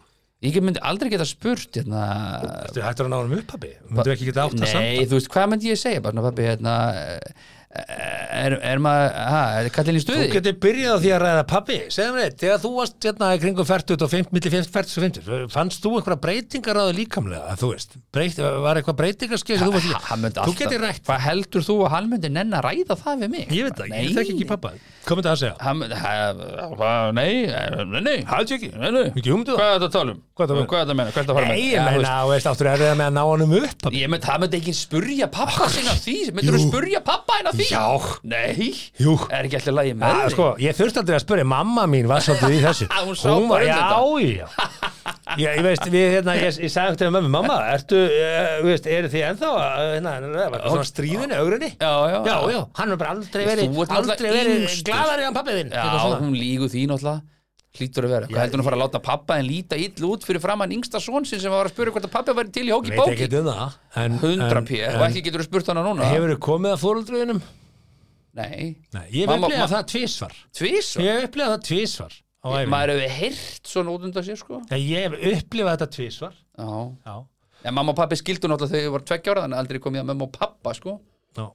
ég myndi aldrei geta spurt hérna,
þú hættur að ná hann upp pappi Myndum við ekki geta átt að samt
nei, þú veist, hvað myndi ég segja bara svona pappi hérna eh, er, er maður, ha, er kallinn í
Þú
stuði
getur byrjað á því að ræða pappi Segðu mér eitt, þegar þú varst hérna í kringum 40 og 50, milli 50 40 og 50 fannst þú einhverja breytingar á þau líkamlega þú veist, breyt, var eitthvað breytingarskeið sem þú varst í?
Ha- hann myndi
Þú
alltaf-
getur rætt
hvað heldur þú að hann myndi nenn að ræða það við mig
Ég veit það, ekki,
Nei.
ég þekki ekki pappa Hvað myndi það að segja?
hann myndi, ha, ha, nei nei, nei,
Hætti ekki,
nei, nei.
ekki hugmyndu
hvað er þetta að tala um
Hvað er þetta að meina?
hvað er þetta að meina,
Nei, ég
hvað er þetta að fara með Já, þú
meina, veist, áttur er það með að ná honum upp
veist, ég myndi, það myndi ekki spurja pappa sinna því myndir þú
Jú.
spurja pappa hennar því
Já.
nei,
Jú.
er ekki alltaf lagi með
Ah,
þig?
sko, ég þurfti aldrei að spyrja, mamma mín var svolítið í þessu
Hún sá
var,
bara um
já, já Ég, ég veist, við, hérna, ég, ég sagði eftir mömmu, mamma, ertu, uh, veist, eru þið ennþá, eh, hérna, var það svona stríðinu, augrunni?
Já, já.
Já, já, hann er bara aldrei verið,
Þú ert náttúrulega
aldrei verið
yngstur.
gladari en pappið þinn.
já,
eitthvað svona.
hún lígu því náttúrulega hlýtur að vera, hvað heldur hún að fara að láta pappa en líta ill út fyrir framann yngsta són sinn sem var að spura hvort að pappa væri til í hóki
Veit
bóki
ekki um það, en,
100 p, og
en,
ekki getur þú spurt hana núna
en hefur þið komið að fóröldruðinum?
nei,
Nei, ég hef
Mamma-
upplegað
ma-
það tvísvar.
tvís
Ég hef upplegað það tvísvar á æfinni.
maður hefur heyrt svona út undan sér sko
Ég hef upplegað þetta tvísvar,
já,
já.
en mamma og pappi skildu náttúrulega þegar ég var tveggja ára þannig að aldrei kom ég að mamma og pappa sko
Já.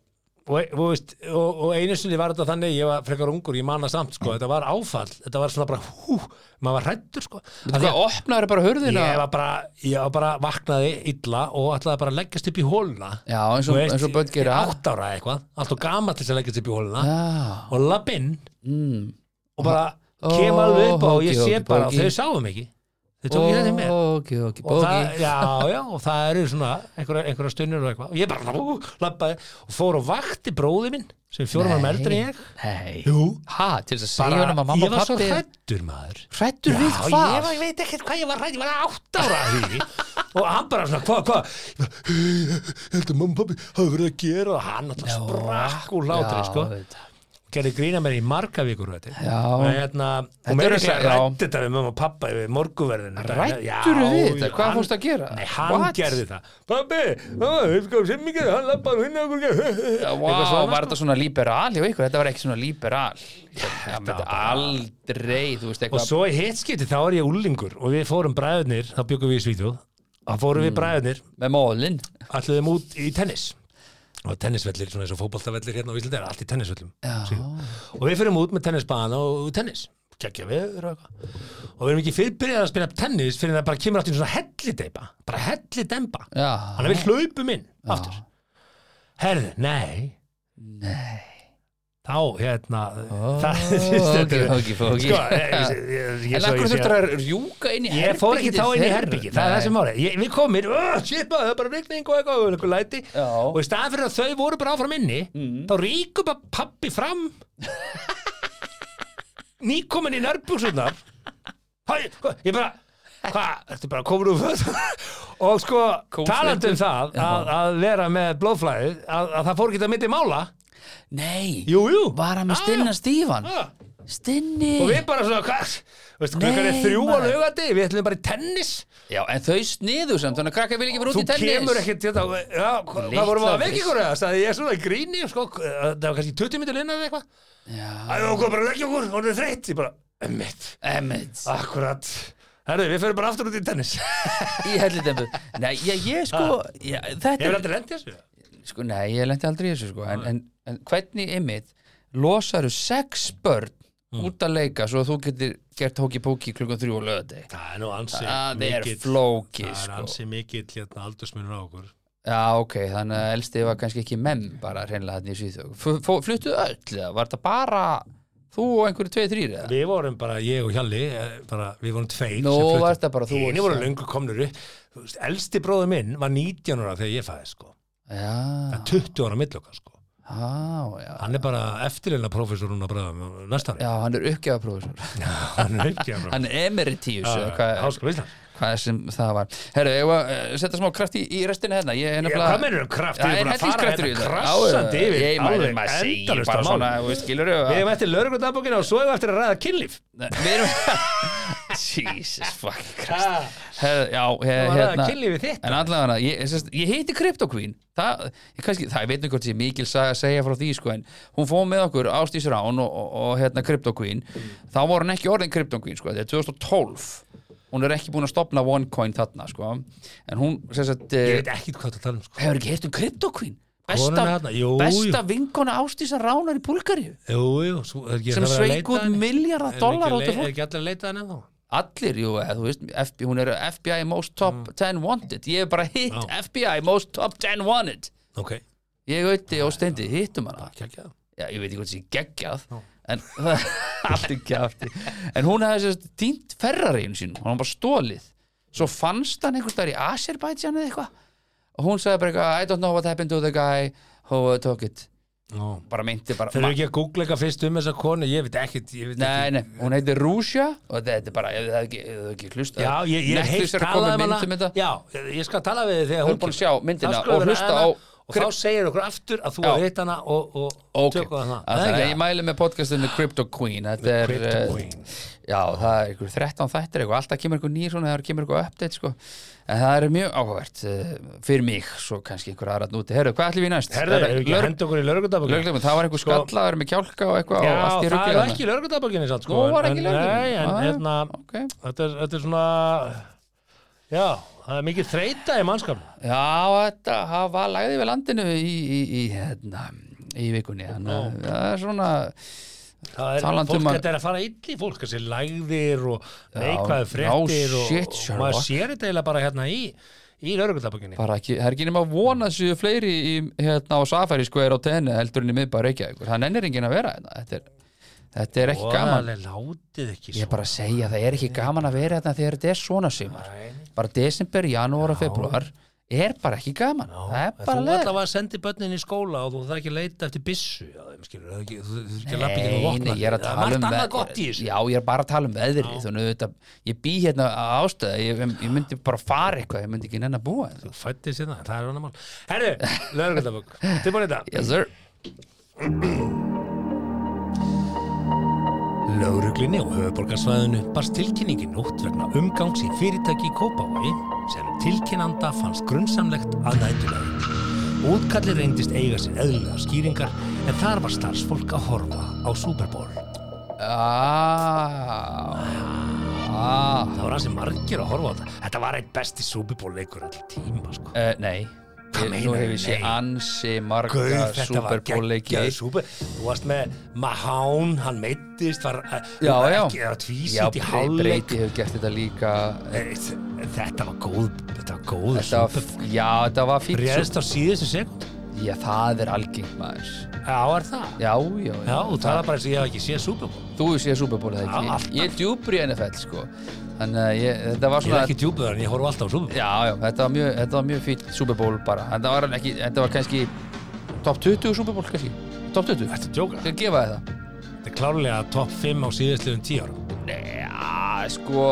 Og, e- og, veist, og, og einu sinni var þetta þannig ég var frekar ungur, ég manna samt sko,
Mm.
þetta var áfall, þetta var svona bara hú, maður var hrættur sko Af því
hvað opnaður bara
að
hurðina
ég var bara, ég var bara vaknaði illa og ætlaði bara að leggjast upp í hóluna
já, eins og, eins og börn gera
átt ára eða eitthvað, allt og gamall til að leggjast upp í hóluna
já,
og lapp inn
mm.
og bara
Ó,
kem alveg upp á og ég
ókei,
sé
ókei,
bara,
ókei.
og þau sáum ekki þau tók ekki þetta með
ok, ok,
og
ok
það, já, já, og það eru svona einhverja, einhverja stunur og eitthvað og ég bara ú, labbaði og fór og vakti bróði minn sem fjórum var með eldri en ég
nei,
Jú,
ha, til þess að
bara,
segja hann að mamma
ég
og
var svo
pappi
hrættur maður
hrættur við
Já, ég,
hvað
var, ég veit ekkert hvað ég var hrætt, ég var átt ára að því og hann bara svona, hvað, hvað Ég bara, heldur mamma og pappi hafa verið að gera og hann alltaf sprakk úr látri sko,
þetta.
gerði grína mér í marga vikur þetta
Já.
og hérna,
Þetta
og mér er
eru
að
þessa- já.
rætti þetta við mamma og pappa yfir morguverðin
Hræddirðu við þetta? Hvað fórstu að gera?
Nei, hann
What?
gerði það Pappi, það er sko sem mikið hann lappaði hinn að okkur
Já, Vá,
sko.
var þetta svona liberal hjá ykkur? Þetta var ekki svona liberal Það myndi aldrei, þú veist
og
eitthvað
svo í hitt skipti þá er ég úlingur og við fórum bræðunir, þá byggum við í Svíþjóð þá fórum
Mm.
við bræðunir,
með mólin
alluðum út í tennis og tennisvellir, svona eins og fótboltavellir hérna á Íslandi er allt í tennisvellum Svíþjóð. og við fyrir út með tennisbana og tennis kekja við og eitthvað og við erum ekki fyrirbyrjað að spila tennis fyrir það bara kemur aftur svona hellideipa bara hellidemba,
Já,
þannig að við hlaupum inn aftur, herðu, nei
Ah. nei
þá, hérna það,
Ókei, ókei, ókei.
sko, ég, ég, ég, ég,
En
svo ég
akkur
sé-
þurftur að rjúka inn í herbyggi
Ég fór ekki þá inn í herbyggi, það er það sem málið. Ég- Við komum mér, "Ugh, shit maður, það er bara rigning og eitthvað, og eitthvað læti.
Já. Mm.
Og í staðan fyrir að þau voru bara áfram inni, þá ríkur bara pappi fram, nýkomin í nærbuxurnar. Hæ, hvað, Ég bara, hvað, ertu bara komin úr föt og sko,
Kóngsveitur.
talandi um það að, að vera með blóðflæðið að, að það fór ekki að myndi mála
Nei,
Jú, jú
var hann með stinna stífan
ah,
Stinni
Og við bara svona, hvað, veistu, klukkan er
Nei,
þrjú á
maður.
laugandi Við ætlum bara í tennis
Já, en þau sniðu samt, þannig að krakka vil ekki vera út
Þú
í tennis
kemur ekkert þetta já, hva-
Litla
Hvað vorum við að vekja
veist.
ykkur eða? Það ég er svona í gríni, sko Það var kannski 20 minnur innan eða eitthvað
Já,
Það var bara að leggja okkur, hún er þreytt Ég bara, emmitt,
emmitt
akkurat Herðu, við förum bara aftur út í tennis
Í hellitempu Nei, ég, ég sko já,
Ah. Ég
Þetta
vil
er
aldrei lendi þessu
sko, nei, ég lendi aldrei í þessu sko. en, en, en hvernig ymmit losaru sex börn
Mm.
út að leika svo að þú getur gert hóki-póki klukkan þrjú og löði
Það er nú ansi
það er
mikill-
flóki
Það er
sko.
ansi mikill hérna aldursmunur á okkur
já, ok, þannig að elsti var kannski ekki menn bara hreinlega hann í Svíþjóð F- fó- fluttu öll, eða? var þetta bara þú og einhverju tveið þrýr eða?
Við vorum bara, ég og Hjalli eh, bara, Við vorum tveir
Nú
sem fluttum.
var þetta bara þú og
Hinir voru
Hjalli.
löngu komnur upp Þú veist, Elsti bróður minn var 19 ára þegar ég fæði sko.
já,
20 ára milloka sko.
á, já
Hann er bara eftirleina prófessorun að bræða næsta ári
já, hann er uppgjafaprófessor
Hann er ekki að
hann er emeritíus eða
bræða
hvað,
Háskóla Ísland
hvað sem það var herru, ég var setja smá kraft í, í restina hérna ég er
Já,
nefnilega
hvað mennur um kraft?
Já,
Við erum
en
bara að fara
hellingskraftur í
hérna
þetta
krassandi yfir
Ég maður,
alveg
maður segir
endalaust á
bara svona
málum.
þú veist, skilur við
Við hefum eftir lögregludagbókina og svo hefum við eftir að ræða kynlíf
Við erum Jesus fucking Christ
Ah,
Her, Já,
Það var
he,
að
hérna
ræða kynlífið þitt
En allavega, ég, sem sagt, ég heiti Crypto Queen Það, ég kannski, það, ég veit nú hvort ég mikil sag, segja frá því, sko, en hún fóð með okkur Ástís Rán og, og, og hérna Crypto Queen Þá voru hann ekki orðin Crypto Queen, sko, þetta er 2012 Hún er ekki búin að stopna OneCoin þarna, sko En hún, sem sagt
Ég
eh,
veit ekki hvað það tala um sko.
Hefur ekki heyrt um Crypto Queen? Besta,
Konuna þarna, jú, jú.
besta vinkona Ástísar Ránar í Búlgaríu
Jú, jú, svo, er ekki-
sem
það verið að
sveik
leita
út
að henni?
miljardar
Er
dólar
ekki
út af
le- Er
fólk
ekki allir að leita að henni ennþá?
allir, jú, eða, þú veist, FBI, hún er FBI most top 10 wanted ég hef bara hitt
Já.
FBI most top 10 wanted
Ok,
ég auðviti og steindi, hittum hana
ekki ekki það
já, ég veit ekki hvað þessi geggjað en allt er kjafti en hún hefði sérst týnt ferrareinu sín hún var bara stólið svo fannst hann einhvers staðar í Azerbaijan eða eitthvað og hún sagði bara eitthvað I don't know what happened to the guy who took it bara meinti bara
Þeir eru ekki að googla eitthvað fyrst um þessa konu Ég veit ekkit ég veit
Nei,
ekki.
nei, hún heitir Rúsja og þetta er bara, ef það ekki, ef það ekki hlusta
Já, ég, ég hef heilt
er að
talað um
koma með
hana
myndum þetta
Já, ég- ég skal tala við þig þegar
Þau
hún
eru búin að
kemur.
sjá myndina
Þá skulum
og
við
hlusta
ræða
á
hana Og þá segir okkur aftur að þú
Já.
að hitt hana og, og
Ok,
tökum það
Að þannig að ég mæli með podcastinu Crypto Queen Þetta er,
Crypto
eh,
Queen.
já, það er ykkur 13 þættir eitthvað, alltaf kemur ykkur nýr svona, það kemur ykkur update, sko En það er mjög áhugavert eh, fyrir mig, svo kannski ykkur aðra núti Herru, hvað ætlum við í næst?
Herðu,
Það er
hefur ekki
lög-
hend okkur í lögregludagbókinu
lögreglum, það var einhver
Sko-
skallaður með kjálka og eitthvað
Já,
og allt í
það
ruglið
er
þarna.
ekki lögregludagbókinu samt sko
Nú var
en-
ekki
Nei,
lögreglum.
en
Ah,
hérna
ok.
Þetta er þetta er svona Já, það er mikið þreita í mannskapnum
Já, þetta hafa lagði við landinu í, í, í, hérna, í vikunni þannig að það er svona
Það er,
Talandi
fólk
um að-
þetta er að fara illi fólk þessi lægðir og
Já,
neikvæðu
no
fréttir og,
shit,
og
Sherlock.
maður sér þetta eiginlega bara hérna í í lauruglutabökinni
bara ekki, það er ekki nema að vona séu fleiri í, hérna á safari sko er á tenni heldur en í miðbæra ekki það nennir enginn að vera hérna þetta er, þetta er ekki gaman
látið ekki
ég er bara að segja, það er ekki gaman að vera hérna þegar þetta er svona sumar bara desember, janúar og februar er bara ekki gaman, það er
Þú
bara leður
allavega sendir börnin í skóla og þú þarf ekki að leita eftir byssu já, þeim skilur, þú ekki- þú þurft ekki að lappa ekki að
Nei,
vopna
nei, ég er að
það er
tala um
margt annað
veð-
gott í þessu
Já, ég er bara að tala um veðrið Þannig auðvitað, ég bý hérna að ástæða ég, ég myndi bara fara eitthvað, ég myndi ekki nenn að búa hérna.
fættið síðan, það er hann að mál Herru, lauruglutabök, tilbúin þetta
Yes sir
Lauruglinni á höfuborgarsvæðinu barst tilkynningi nótt vegna umgangs í fyrirtæki í Kópavogi sem tilkynnanda fannst grunnsamlegt að nætulegi. Útkalli reyndist eiga sér eðlilega skýringar en þar var starfsfólk að horfa á Superból.
ah, ah,
Það var hansi margir að horfa á þetta. Þetta var eitt besti Superból-leikur allir tíma, sko.
uh, Nei
Hvað
Ég-
meinar
Nú hefur
þú,
ég sé
nei?
ansi
Guð,
marga
þetta var
superbólleiki
geggjaði súper Þú varst með Mahán, hann meittist var, eh,
Já,
var
já
ekki, eða
Já,
tvísitt í
Bre-
hálfleik
Breiti hefur gert þetta líka
Eh, Þetta var góð Þetta var góð
Þetta var,
Super-
já, þetta var fínt
Réðst á síðustu sekund
Já, það er algengt maður
Já, er það?
Já, já, já
Já, þú talar bara eins og ég hef ekki séð Super Bowl
Þú sé Super Bowl eða
Já, alltaf.
ekki Ég er djúpur í NFL sko Þannig að ég, þetta var
Ég er
svona
ekki djúpur en ég horf alltaf á Super Bowl
Já, já, þetta var mjög, þetta var mjög fýtt Super Bowl bara Þetta var, ekki, þetta var kannski top 20 Super Bowl kannski Top 20
Þetta er djóka
Þegar gefa þið það
Þetta er klárlega top 5 á síðustliðum 10 ára
Nei, já, Nei, sko,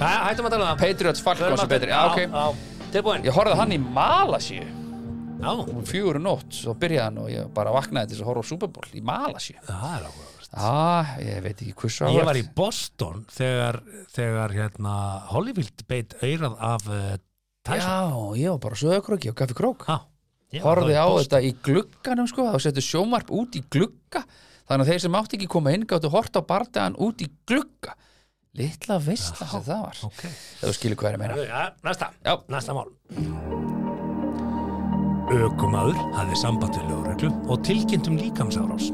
Hæ- Hættum að tala um það
Patriots Falcons er betri Já, ok
ok Tilbúin
Ég horfði á hann í Malasíu Um
Já,
Fjögur og nótt, svo byrjaði hann og ég bara vaknaði til þess að horfa á Super Bowl í Malasíu
það er áhugaverð
Ah, ég veit ekki hversu
Ég
áhugavert.
var í Boston þegar, þegar hérna, Hollyfield beit aurað af uh, Tyson
Já, ég var bara sögurkróki og kaffi krók
Já, ég var þá
Horfði
í
á
Boston.
þetta í glugganum sko og settu sjómarp út í glugga þannig að þeir sem mátti ekki koma inn gáttu hort á bardagan út í glugga Litla veistla sem það var
Ok.
Ef þú skilur hvað er að meina
Já, næsta,
Já.
næsta mál Ökumaður hafði samband við lögreglu og tilkynnt um líkamsárás.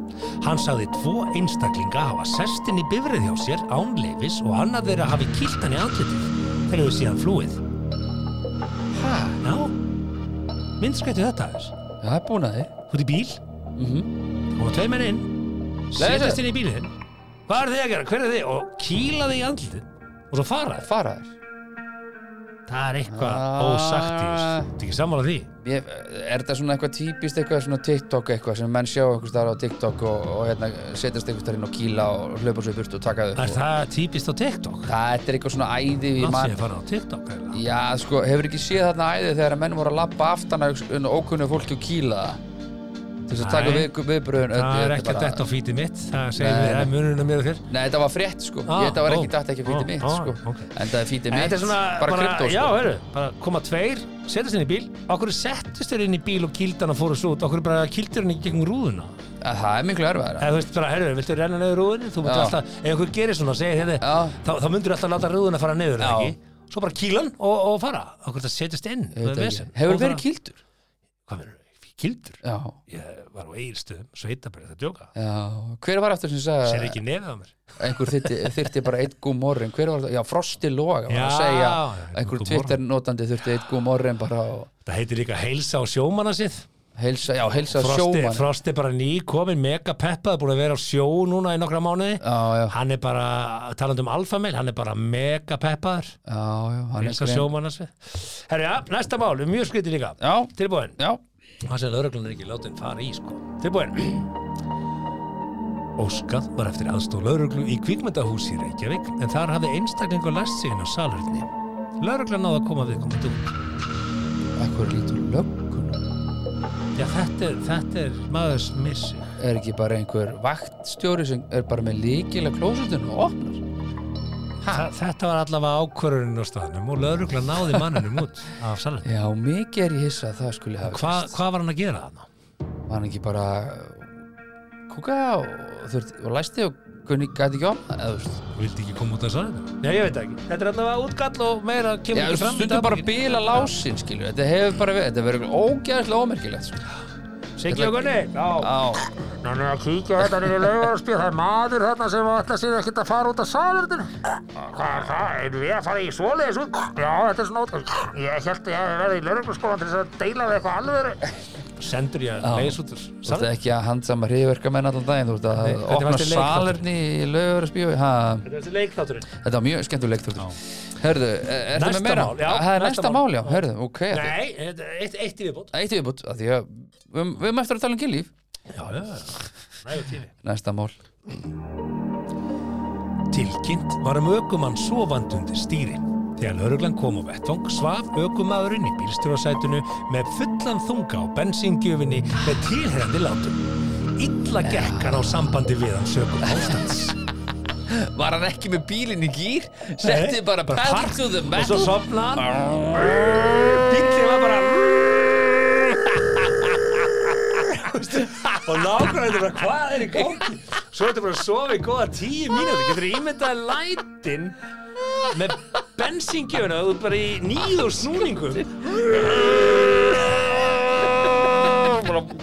Hann sagði tvo einstaklinga hafa sest inn í bifrið hjá sér án leifis og annað þeirra hafi kýlt hann í andlitið. Þeir hefur síðan flúið.
Hæ,
Já, myndskvættu þetta aðeins.
það er búin að þið
Þú ert í bíl,
Mhm.
koma tvei menn inn,
Leigðu
setjast
sér.
inn í bílinn. Hvað er þið að gera? Hver er þið? Og kýla þið í andlitið og svo fara.
Faraður
Það er eitthvað
Ah.
ósagt í þessu. Þú ert ekki sammála því?
Ég, er þetta svona eitthvað típist eitthvað svona TikTok eitthvað sem menn sjá eitthvað þar á TikTok og, og hérna, setjast eitthvað þar inn og kýla og hlaupa svo í burtu og taka þau
Er
og,
það típist á TikTok?
Það er eitthvað svona æði við
Langt
mann
sér að fara á TikTok eiginlega.
Já, sko, hefur ekki séð þarna æðið þegar að menn voru að labba aftan að um ókunnu fólki og kýla það til þess að taka
Nei.
við, viðbröðun
Það er ekki að detta á fítið mitt Það segir
Nei,
mér
nei.
að munurinn mér og þér
Nei, þetta var frétt, sko
Ah,
Ég, Þetta
ó,
var ekki dætt ekki
ó,
fítið mitt,
ó,
sko
ok.
En það er fítið
En
mitt,
þetta er svona
bara kryptó,
Já,
sko
heru, bara koma tveir, setjast inn í bíl Okkur settist þér inn í bíl og kýldan og fóru svo út Okkur bara kýldir henni gegnum rúðuna
En Það er miklu erfæðara
Eða þú veist bara, herru, viltu renna niður rúðinu? Þú myndir
Já.
alltaf, ef einhver gerir svona og segir henni
Já.
þá, þá myndir alltaf láta rúðuna fara niður, eða
Já.
ekki? Svo bara kýlan og, og fara Okkur það setjast inn það er vesen.
Hefur
Og
verið
bara-
kýldur?
Hvað verður? Kýldur?
Já,
Ég var á eigirstöðum, sveitabrið, það djóka
já Hver var eftir sem
Sér
sagði
ekki nefið á mér
einhver þyrti, þyrti bara eitt gúm morgun Hver var það? Já, Frosti Loga var að
Já,
segja
einn
einhver
gúm
Twitter notandi þyrti eitt gúm morgun bara og
Það heitir líka heilsa á sjómanna sið
heilsa, já, heilsa
Frosti,
sjóman
Frosti er bara ný komin mega peppaði, búin að vera á sjó núna í nokkra mánuði
Já, já,
Hann er bara, talandi um alfamil hann er bara mega peppaður
já, já, hann
Heilsa
grein-
sjómanna sið Herri, ja, næsta mál, mjög skriti líka
Já,
Tilbúin,
já
hann segir lögreglun er ekki látin fara í sko Tilbúin Óskað var eftir aðstóð lögreglu í kvikmyndahús í Reykjavík en þar hafði einstaklingur læst sig inn á salurni Lögreglan náða að koma viðkomandi út
Akkur lítur löggun
Já, þetta er, þetta er maður smissi.
Er ekki bara einhver vaktstjóri sem er bara með líkilega klósutinu og opnar
Þa- Þetta var allavega ákvörunin á staðnum og lögregla náði manninum út af salinu.
Já, mikið er ég hissa að það skulle hafa
Hva, hvað var hann að gera þarna?
Var hann ekki bara uh, kúka og þurft og læsti og kunni gæti ekki opna eða, þú veist.
Vildi ekki koma út af salinu? Já, ég veit ekki. Þetta er allavega útgall og meira
Já,
kemur
þú
ekki fram. í
stundum bara
dagbókinni.
bíla lásin skilur Þetta hefur bara verið, þetta verður ógeðslega ómerkilegt sko.
Siggi og Gunni, já.
Já,
Hann er að kíkja þetta niður í lögarspil, það er maður hérna sem ætla sér ekkert að fara út af salinu. Hvað er það? Erum við að fara í svoleiðis út? Já, þetta er svona útgall. Ég held ég að verði í lögarskólan til þess að deila við eitthvað alveg. Sendur ég
Já.
að leiðis út af
þú ert
salinu?
ekki að handsama hriðverkamenn allan daginn Þú ert að
Nei, hvernig
opna
fannst þér leikþátturinn?
salerni í lögur
Þetta er þessi leikþátturinn.
Þetta var mjög skemmtuleg þáttur. Herðu, er er það
Næsta
með meira?
mál, já,
Það er
næsta
næsta
mál.
mál, já, herðu, ok. þetta-
Nei, þetta er eitt, eitt í viðbót.
Eitt viðbútt, að því að við við höfum eftir að tala um kynlíf.
Já, já, nægur tími.
Næsta mál.
Tilkynnt var um ökumann sofandi undir stýri. Þegar lauruglan kom á vettvang svaf ökumadurinn í bílstjórasætinu með fullan þunga á bensíngjöfinni með tilherrandi látum. Illa gekk hann á sambandi við hann sökum ástands.
Var hann ekki með bílinn í gýr? Setti
Nei,
bara pedal
park.
to the
Og svo
metal?
sopnaði hann. Bíllinn var bara... Veistu, og nákvæmlega bara hvað er í gangi svo ertu bara að sofa í góða tíu mínúti getur ímyndaði lætin með bensingjöfuna þú ert bara í nýð og snúningum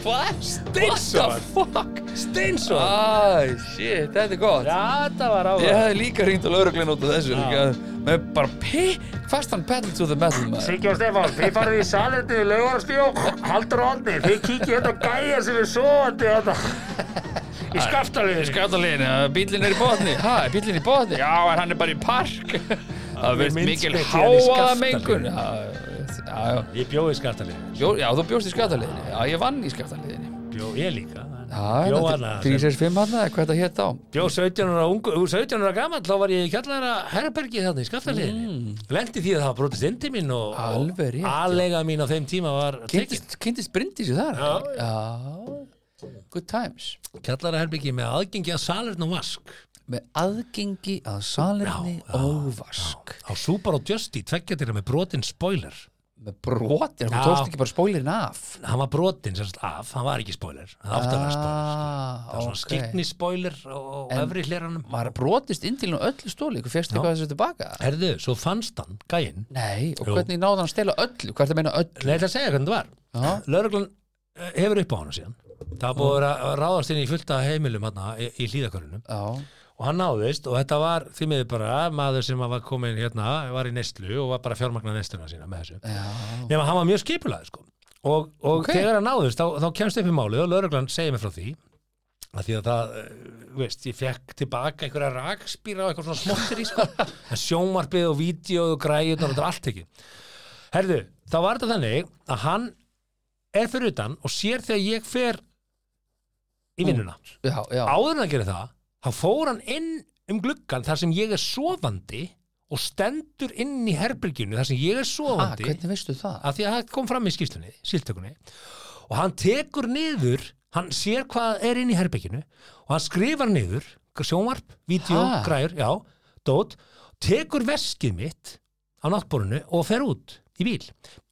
What?
Steinsson.
What the fuck?
steinsó já,
Æ, shit, þetta er gott.
þetta var
Ég
áhuga
hefði líka ringt á lauruglinn út af þessu. líka, Með bara pi, fastan pedal to the metal, maður.
Siggi og Stefán, þið farið í salendið í laugarstjó haldur ofni, þið kikið þetta gæja sem er sofandi þetta í skaftalið
Skatalínu, bílinn er í botni Hæ, bílinn í botni? Já, en hann er bara í park Það verðist mikil
myndskeið til hann í
háaða
Skaftaliðinu.
mengun Já, já, já.
ég bjóði skaftalið
Bjó, já, þú bjóst í skatalíðinu Já, ég vann í skatalíðinu
bjóði ég líka Jóhanna sem-
Prísers 5 hann, eða hvað þetta hétt á
Bjó 17 ára, ungu, úr 17 ára gamall þá var ég í kjallara herbergi þarna í skaftaliðin Lendi því að það var brotist indi mín og
Mm. Alveg rétt, já.
aðlega mín á þeim tíma var tekist
Kynntist, kynntist Bryndís í þar
Já.
Já, good times
Kjallara herbergi með aðgengi að salurn og vask
Með aðgengi að salerni óvask
á Súpar og Justy, tveggja þeirra með brotin spoiler
Með brotin, hún
Já.
tókst ekki bara spólirin af
Hann var brotin sérst af, hann var ekki spoiler hann átti að vera spoiler sko. Það var svona
Ah, ok.
skiltni spoiler á á
En-
efri hleranum
Var brotist inn til nú öllu stóli, hvað fyrst
Já.
eitthvað þessu tilbaka?
Herðu, svo fannst hann, gæinn
Nei, og
Jú.
hvernig náði hann að stela öllu? Hvað er það að meina öllu?
Nei, ég ætla að segja hvernig það var
Já.
Lörglan hefur upp á hana síðan Það er búið að vera að ráðast inn í fullta heimilum hana, í, í hlýðakörunum
Já,
og hann náðist og þetta var því miður bara maður sem var komin hérna var í neyslu og var bara að fjármagna neysluna sína með þessu
já,
nema hann var mjög skipulaði sko og, og
Ok.
þegar hann náðist þá, þá kemst upp í málið og lögreglan segir mér frá því að því að það, eh, þú veist, ég fekk tilbaka einhverja rakspýra og eitthvað svona smottir í sko en sjónvarpið og vídeo og græðunar og þetta er allt ekki herðu, þá var þetta þannig að hann er fyrir utan og sér þegar ég fer í vinnuna
já, já.
áður en að gera það þá fór hann inn um gluggan þar sem ég er sofandi og stendur inn í herberginu þar sem ég er
Ah,
sofandi
hvernig veistu það?
að því að það kom fram í skýrslunni, síltökunni og hann tekur niður hann sér hvað er inn í herbygginu og hann skrifar niður sjónvarp, vídeo,
Ha?
græjur, já dót, tekur veskið mitt á náttborinu og fer út í bíl,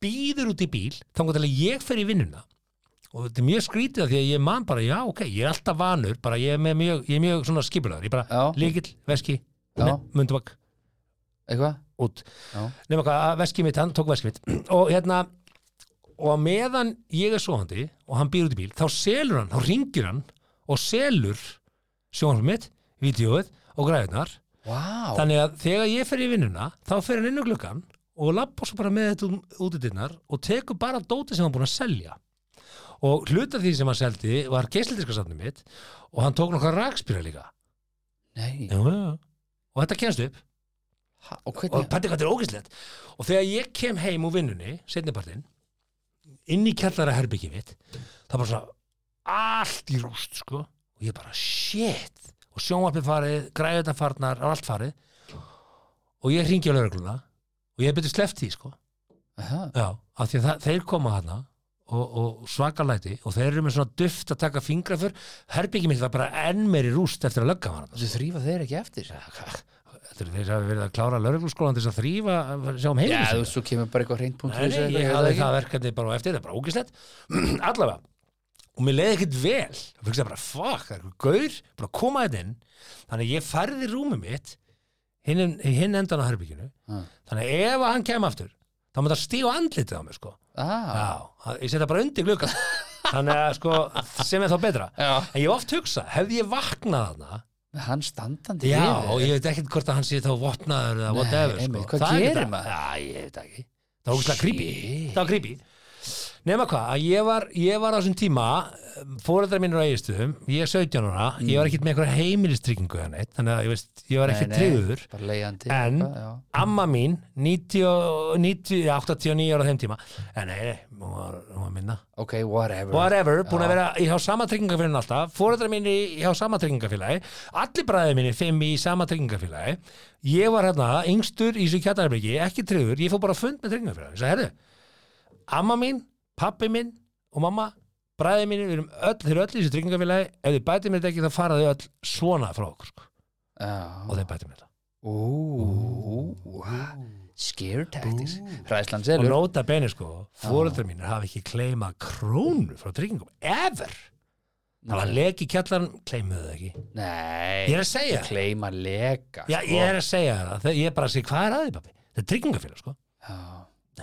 býður út í bíl þannig að ég fer í vinnuna og þetta er mjög skrítið af því að ég man bara já ok, ég er alltaf vanur, bara ég er, með mjög, ég er mjög svona skipulagur, ég bara
Já.
líkil, veski,
Já.
mundvak
Eitthvað?
út
Já.
nema hvað, að veskið mitt, hann tók veskið mitt og hérna og á meðan ég er svoandi og hann býr út í bíl þá selur hann, þá ringir hann og selur sjónarfum mitt vídeoið og græðunar
Vá,
þannig að þegar ég fer í vinnuna þá fer hann inn á gluggan og lappa svo bara með þetta út í dinnar og tekur bara dótið sem hann búin að selja og hluta því sem hann seldi var geisladiskasafnið mitt og hann tók nokkra rakspýra líka
nei,
Já, já, já. og þetta kemst upp
ha, og
og
hvernig?
pæti hvað þetta er ógæslegt og þegar ég kem heim úr vinnunni setnipartinn, inn í kjallara herbyggi mitt, það var svona allt í rúst sko og ég bara shit og sjónvarpið farið, græðunar farnar allt farið og ég ringi á laurugluna og ég byrja sleft því sko
Aha,
Já, af því að það, þeir koma hana og, og svakalæti og þeir eru með svona duft að taka fingra fyrr herbyggi mitt var bara enn meiri rúst eftir að lögga var þarna, sko.
Þú þrýfa þeir ekki eftir?
Þetta er þeir hafa verið að klára lögregluskólan til þess að þrýfa að sjá um
Já,
heimil
þú veist, svo kemur bara eitthvað hreint punkt
Nei, nei, ég hafði það verkefni bara á eftir, það er bara ógislegt Allavega, og mér leiði ekkert vel Það fyrir bara, fuck, það er eitthvað gaur bara að koma þetta inn, þannig að ég færði rúmið mitt hinn, hinn endan á herbygginu
Ah.
þannig að ef að hann kem aftur þá maður það stíu andlitið á mér, sko
Ah,
Já, það- ég setja bara undir glugga þannig að, sko, sem er þá betra
Já.
en ég hef oft hugsa, hefði ég vaknað þarna
með hann standandi
Já,
yfir.
og ég veit ekkert hvort að hann sé þá vopnaður eða whatever,
einmitt,
sko.
hvað
Það er
gerir
þetta-
maður?
Já, ég veit það ekki. Það var ógustlega creepy.
Shit.
Það var creepy. Nefna hvað, að ég var, ég var á þessum tíma, fóreldrar mínir á eigistuðum, ég er 17 ára, ég var ekkert með einhverja heimilistryggingu eða neitt, þannig að ég, veist, ég var
Mm. Nei,
ekkert
nei,
tryggður.
Bara leiðandi
En-
eitthvað, já.
Amma mín, 90, og- 90, 89 ára á þeim tíma, en nei, nei, hún var, hún var minna
Ok, whatever
whatever, búin að vera í hjá sama tryggingafélagin alltaf, fóreldrar mínir í hjá sama tryggingafélagi, allir bræðið mínir fimm í sama tryggingafélagi, ég var hérna yngstur í þessu kjartarherbyggi, ekki tryggður, ég fór bara á fund með tryggingafélagi, ég sagði, herru, amma mín, pappi minn og mamma, bræðið mínir, við erum öll, þeir eru öll í þessu tryggingafélagi, ef þið bætið mér þetta ekki þá faraðu öll svona frá okkur, sko.
Já
og þeir bætið mér þetta.
Ú, ha, Scare tactics Hræðslan
Og
selur
nota beni, sko, fóreldrar mínir hafa ekki kleimað krónu frá tryggingum, ever. Það var leki kjallarinn, kleimuðu það ekki.
Nei
Ég er að segja það.
Kleima leka
Já, ég er að segja þér það, Þe- ég er bara að segja hvað er aðið pappi, þetta er tryggingafélag sko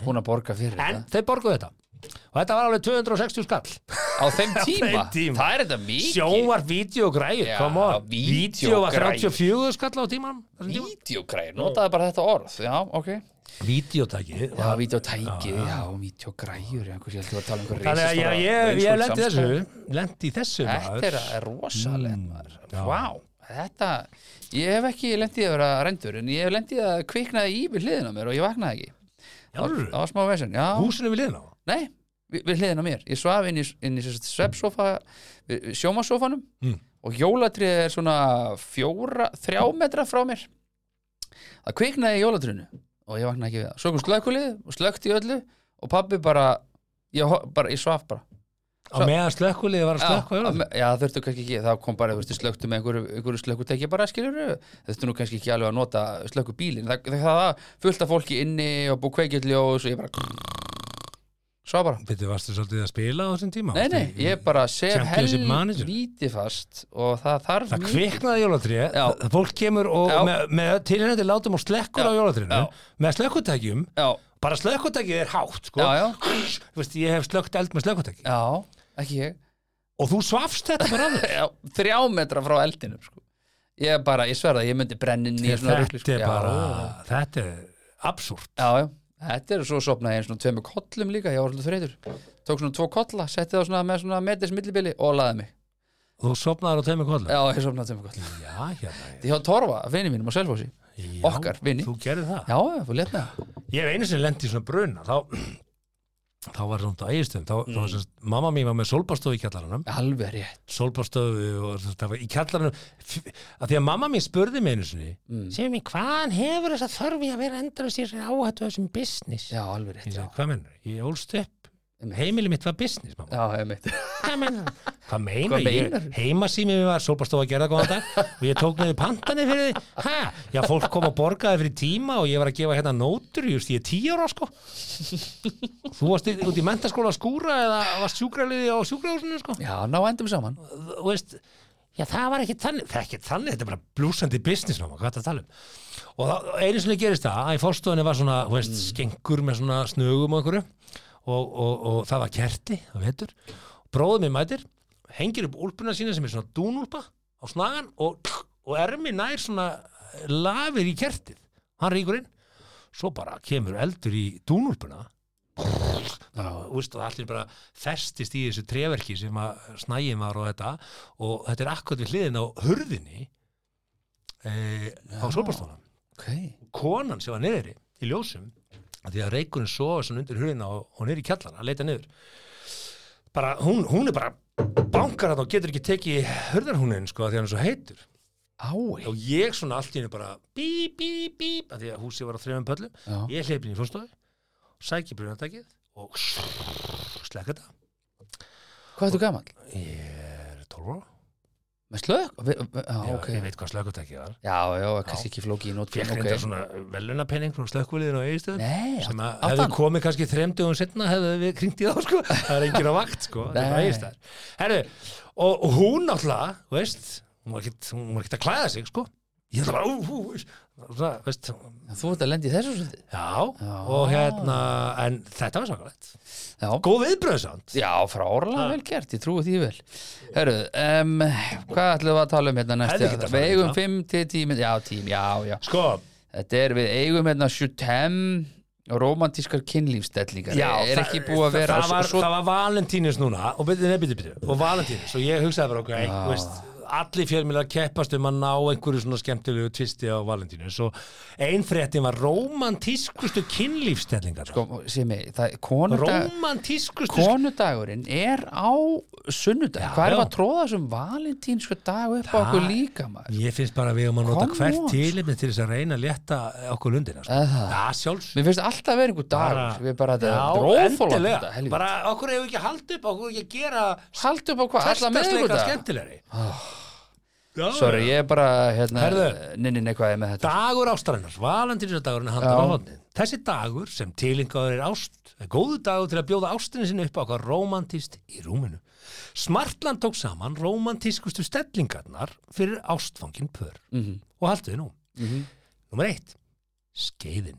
Hún að borga fyrir
en
þetta
þeir borguðu þetta og þetta var alveg 260 skall
Á þeim tíma
þeim tíma.
Það er þetta mikið
sjóvar, vídeogræði,
Já,
come on
vídeó
vídeo var
græjur.
34 skall á tíman
Vídeogræður, notaði bara þetta orð Já, ok
vídeotæki
Já, vídeotæki, já, vídeogræður Já, hversu ég held ég var að tala um einhver
þannig að
risastóra
ég, ég, ég
Facebook
lendi
samskipti.
þessu lendi þessu
Þetta er,
maður.
er rosalegt maður
Mm, já.
Vá, þetta Ég hef ekki lendið að vera rendur en ég hef lendið að kviknaði í við hliðina á mér og ég vaknaði ekki
Jálfur,
Það var smá vesinn, já,
húsinu við liðna á
nei við, við hliðina á mér ég svaf inn í, inn í svepsofa sjómasofanum
Mm.
og jólatrið er svona fjóra, þrjá metra frá mér það kviknaði í jólatriðinu og ég vaknaði ekki við það svo kom slökkulið og slökti í öllu og pabbi bara ég, ho- bara, ég svaf bara
á meðan slökkulið var að slökka
já, já það þurftu kannski ekki, það kom bara þú veist, slöktu með einhverju, einhverju slökkutekja bara skilur þurftu nú kannski ekki alveg að nota slökku bílin, það, það, það var fullt af fólki inni og búið kveikjöldljós og ég bara svo bara,
Bittu, varstu svolítið að spila á þessum tíma?
nei nei,
Varstu-
ég bara sef
Championship manager.
helvítið fast og það þarf
Það
mikið-
kviknaði jólatrið,
Já.
það fólk kemur og
Já.
með, með tilhengjandi látum og slekkur
Já.
á jólatriðinu,
Já.
með slökkutækjum,
já,
bara slökkutækið er hátt, sko.
Já, já.
Þú Veist, ég hef slökkt eld með slökkutæki.
já, ekki ég
Og þú svafst þetta bara af þér.
já, þrjá metra frá eldinum sko. ég bara, ég sverða, ég myndi brennin í svona
Þetta
rugli, sko.
er
Já,
bara,
já.
þetta er absúrt.
Já, já, þetta er svo sopnaði ég svona tveimur kollum líka, ég var svolítið þreytur Tók svona tvo kolla, setti það svona með svona metis millibili og laði mig
Þú sopnaður á tveimur kollum.
Já, ég sopnaði tveimur kollum
Já, hérna.
Ég hjá Torfa, vini mínum á Selfossi
Já,
Okkar, vini.
Þú gerir það.
Já, já, þú létt með það
Ég hef einu sinni lent í svona bruna, þá, þá var svona dægistum, þá, mm. þá var semst, mamma mín var með solbastofu í kjallaranum.
Alveg rétt
solbárstöfu og þetta var í kjallarinu að því að mamma mín spurði mig einu sinni mm. segjum mér, hvaðan hefur þess að þörfi að vera endur að sér áhættu af þessum business
Já,
ég
alveg rétt Já,
segi, hvað mennur, ég ólst upp heimili mitt var business, mamma
já ég meitt
hvað meinar, hvað meinar,
Hvað
meinar?
meinarðu?
heimasými mér var solbárstöfu að gera góðan dag og ég tók neðu pantani fyrir því ha, já, fólk kom að borgaði fyrir tíma og ég var að gefa hérna nótur, just ég er tíu ára sko þú varst í- út í mentaskóla að skúra eða varst sjúkraliði á sjúkrahúsinu sko
Já, ná endum saman
þú veist já það var ekki þannig, það er ekki þannig þetta er bara blúsandi business náma, hvað er þetta að tala um og það, einu sinni gerist það, að í fórstofunni var svona, þú veist, skengur með svona snögum og einhverju og, og, og það var kerti, það veitur bróðum minn mætir, hengir upp úlpuna sína sem er svona dúnúlpa á snagan og, og ermi nær svona lafir í kertið hann ríkur inn, svo bara kemur eldur í dúnúlpuna bara, úst, og allir bara festist í þessu treverki sem að snægjum var og þetta og þetta er akkurat við hliðin á hurðinni e, á solbárstónan
Ok,
konan sem var niðri í ljósum af því að reykurinn sofa svona undir hurðina og, og niður í kjallara að leita niður bara, hún, hún er bara bankar hann og getur ekki tekið í hurðarhúnin sko af því að hann er svo heitur
ái
og ég svona allt í henni bara bíp, bíp, bíp, af því að húsið var á þreifum pöllum
Já.
ég hleyp inn í fórstofu sæki brunatækið og slekka þetta
Hvað ertu gaman?
er 12 ára
Með slökk? Ve- ve- Já,
Já,
Ah, ok
ég veit hvað slökkutækið var
Já, já, kannski ekki flóki í nót
Fekk okay. reyndar svona velunapenning frá slökkviliðin á Egilstöðum
Nei,
sem að
átt
hefði
hann?
komið kannski þremdugum setna hefði við kringt í þá sko það er enginn á vakt sko þetta er bara
Nei.
Egilsstaðir. Herru, og, og hún náttúrulega þú veist, hún var ekkert hún var ekkert að klæða sig sko ég ætla bara ú, ú, ú, svona, veist,
Þú ert að lendi þessu svolítið
já, og hérna en þetta var svakalegt
Já,
góð viðbröðsand
Já, frálega vel gert, ég trúi því vel Herru, um, hvað ætlum við að tala um hérna
Hefði getað farið
næstu? Við
í
eigum
það.
5 til 10 minn- já, 10, já, já
sko,
Þetta er, við eigum hérna 7-10 romantískar kynlífstellingar
já,
er
það-
ekki búið að vera
það, var,
svo,
það var Valentínus núna og byrju, nei, byrju, byrju, og Valentínus og ég hugsaði bara, ok, þú veist allir fjölmjölar keppast um að ná einhverju svona skemmtilegu tvisti á Valentínus og ein fréttin var romantískustu kynlífstellingar sko,
svo sem ég, það, konudag,
romantískustu
konudagurinn er á sunnudag,
Já,
hvað
já.
erum við að tróða þessum valentínsku dag upp á
Það-
okkur líka maður?
ég finnst bara að við um að nota
Come
hvert
on, sko.
tilefni til þess að reyna að létta okkur lundina sko.
Eða það?
það sjálfs
Mér finnst alltaf að vera einhver dag
Bara-
við bara þetta
Já,
drófólandi
endilega.
þetta, helvita
bara okkur hefur ekki haldið upp okkur hefur ekki að gera
Haldu upp á hvað, alla
hversdagsleika
meðvitað
skemmtilegri Já,
Ah. Sorry, ég er bara hérna,
Herðu.
nynni neikvæði með þetta
Dagur ástarinnar, valendirinsdagurinn handar á hodnin. Þessi dagur sem tilingaður er ást, er góðu dagur til að bjóða ástinni sinni upp á hvað rómantist í rúminu. Smartland tók saman rómantískustu stellingarnar fyrir ástfangin pör. -hmm. Og haldið nú. Mm -hmm. Númer eitt, skeiðin.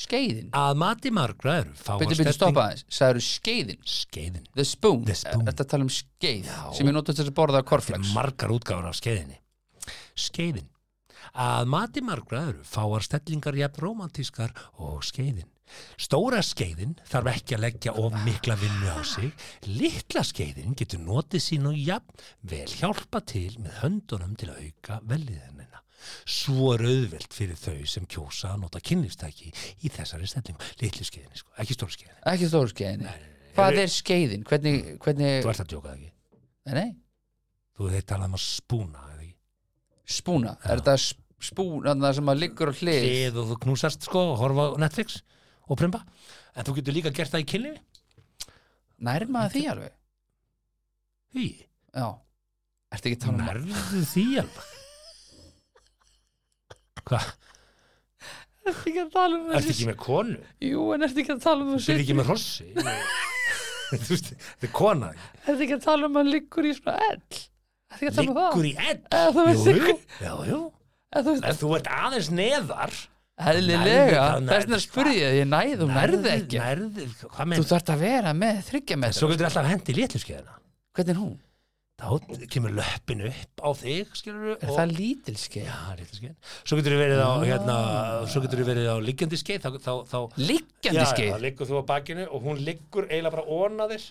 Skeiðin,
Að mati margra eru fá
byrju, byrju, stoppa aðeins Sæður skeiðin,
Skeiðin.
the spoon,
The spoon.
Þetta tala um skeið sem ég notast til að borða korflex
margar útgáfur af skeiðinni skeiðin að mati margra eru fáar stellingar jafn romantískar og skeiðin stóra skeiðin þarf ekki að leggja of mikla vinnu á sig litla skeiðin getur notið sín og jafn vel hjálpa til með höndunum til að auka velliðinina svo er auðvelt fyrir þau sem kjósa að nota kynlífstæki í þessari stellingu litlu skeiðinni sko, ekki stóra skeiðinni
Ekki stóru skeiðin Hvað er skeiðin? Hvernig, hvernig,
Þú ert að djóka það ekki
nei, nei,
Þú þeir talað um að spúna eða ekki?
spúna Er þetta sp- spúna þarna sem að liggur á hlið?
Hlið og þú knúsast sko og horfa á Netflix og prumba En þú getur líka gert það í kynlífi
Nærð maður því alveg?
Því,
Já Ertu ekki að tala um
nærðu því alveg Hvað,
Ertu ekki að tala um
ertu ekki með konu?
Jú, en ertu ekki að tala um
Þú ert ekki með hrossi Þú veist, Þetta er kona
Ertu ekki að tala um að liggur í svona ell? Ertu ekki um
Liggur í edd
Eða þú veist
Jú, jú,
ekki-
já, jú
Eða þú
En þú ert aðeins neðar
Heðlilega,
Nærðu þá,
þess vegna
nærðu.
spurði ég, ég næði, hún nærði ekki
nærðu, Hvað
Þú
menn?
þarft að vera með þryggja með
Svo getur alltaf hendi í létluskeiðina
Hvernig er hún?
Þá kemur löppin upp á þig skilur
Er það lítilskeið?
Já, létluskeið Svo getur þú verið á hérna, Svo getur þú verið á liggjandi skeið þá, þá, þá,
Liggjandi
Já, þá
skeið?
liggur þú á bakinu og hún liggur eiginlega bara óna þér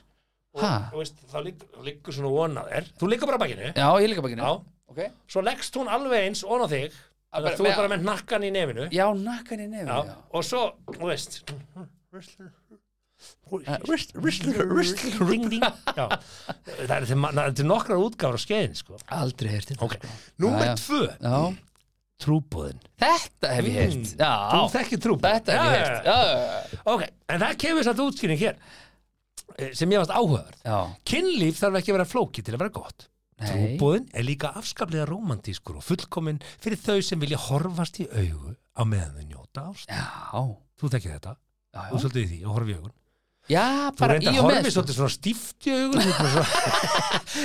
og,
Ha?
og veist, þá liggur, liggur svona óna þér Þú liggur bara á bakinu
Já, ég líka bakinu
Já.
Ok.
Svo leggst hún alveg eins óna þig
Að
Þannig að
bara-
þú
með-
er bara með nakkan í nefinu
Já, nakkan í nefn
Já, Eh,
já.
og svo, þú veist
rist-
Ring, ring. Já, það er til, ma- það er til nokkrar útgáfur á skeiðin sko.
Aldrei heyrti
ok, númer
Já, já.
tvö
Já.
trúbúðin,
Þetta hef ég heyrt Já,
Mm. þú þekkir trúbúðin
þetta hef ég heyrt Já,
já. ok, en það kemur satt útskýring hér eh, sem ég varst áhugaverð
já,
kynlíf þarf ekki að vera flóki til að vera gott
Nei.
trúbúðin er líka afskaplega romantískur og fullkomin fyrir þau sem vilja horfast í augu á meðan þau njóta ást
já,
þú þekkir þetta,
já,
þú
já.
er svolítið í því og horfið í augun
já
Þú
bara í
reyndar
og með sko.
horfið svolítið svona stíft í augun þú ert bara svona-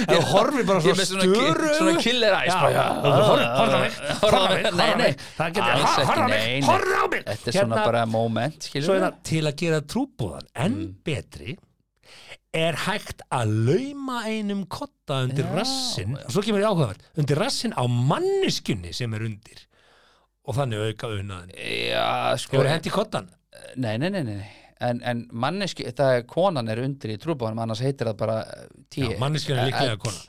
Þú horfið bara
Ég er
svona
með svona,
störu
ki-
augun.
svona killer eyes
Já,
bara,
já, þú horfir- horfir á mig, horfir á mig,
Nei,
horfir á
nei.
mig Það getur,
Alls
ha-
ekki,
horfir á mig,
nei, nei.
horfir á mig
Þetta er svona
Hérna,
bara moment skilur
Svo
við?
hérna, til að gera trúbúðan enn
Mm.
betri er hægt að lauma einum kotta undir
Já.
rassin og svo kemur ég áhugaverð, undir rassin á manniskunni sem er undir og þannig auka unnaðin
Já, sko
Hefur hendi kottan?
Nei, nei, nei, nei nei. En, en manneski, það er konan er undir í trúbóðanum annars heitir það bara eh, tí
Já, manneskjan er líklega
Eh,
kona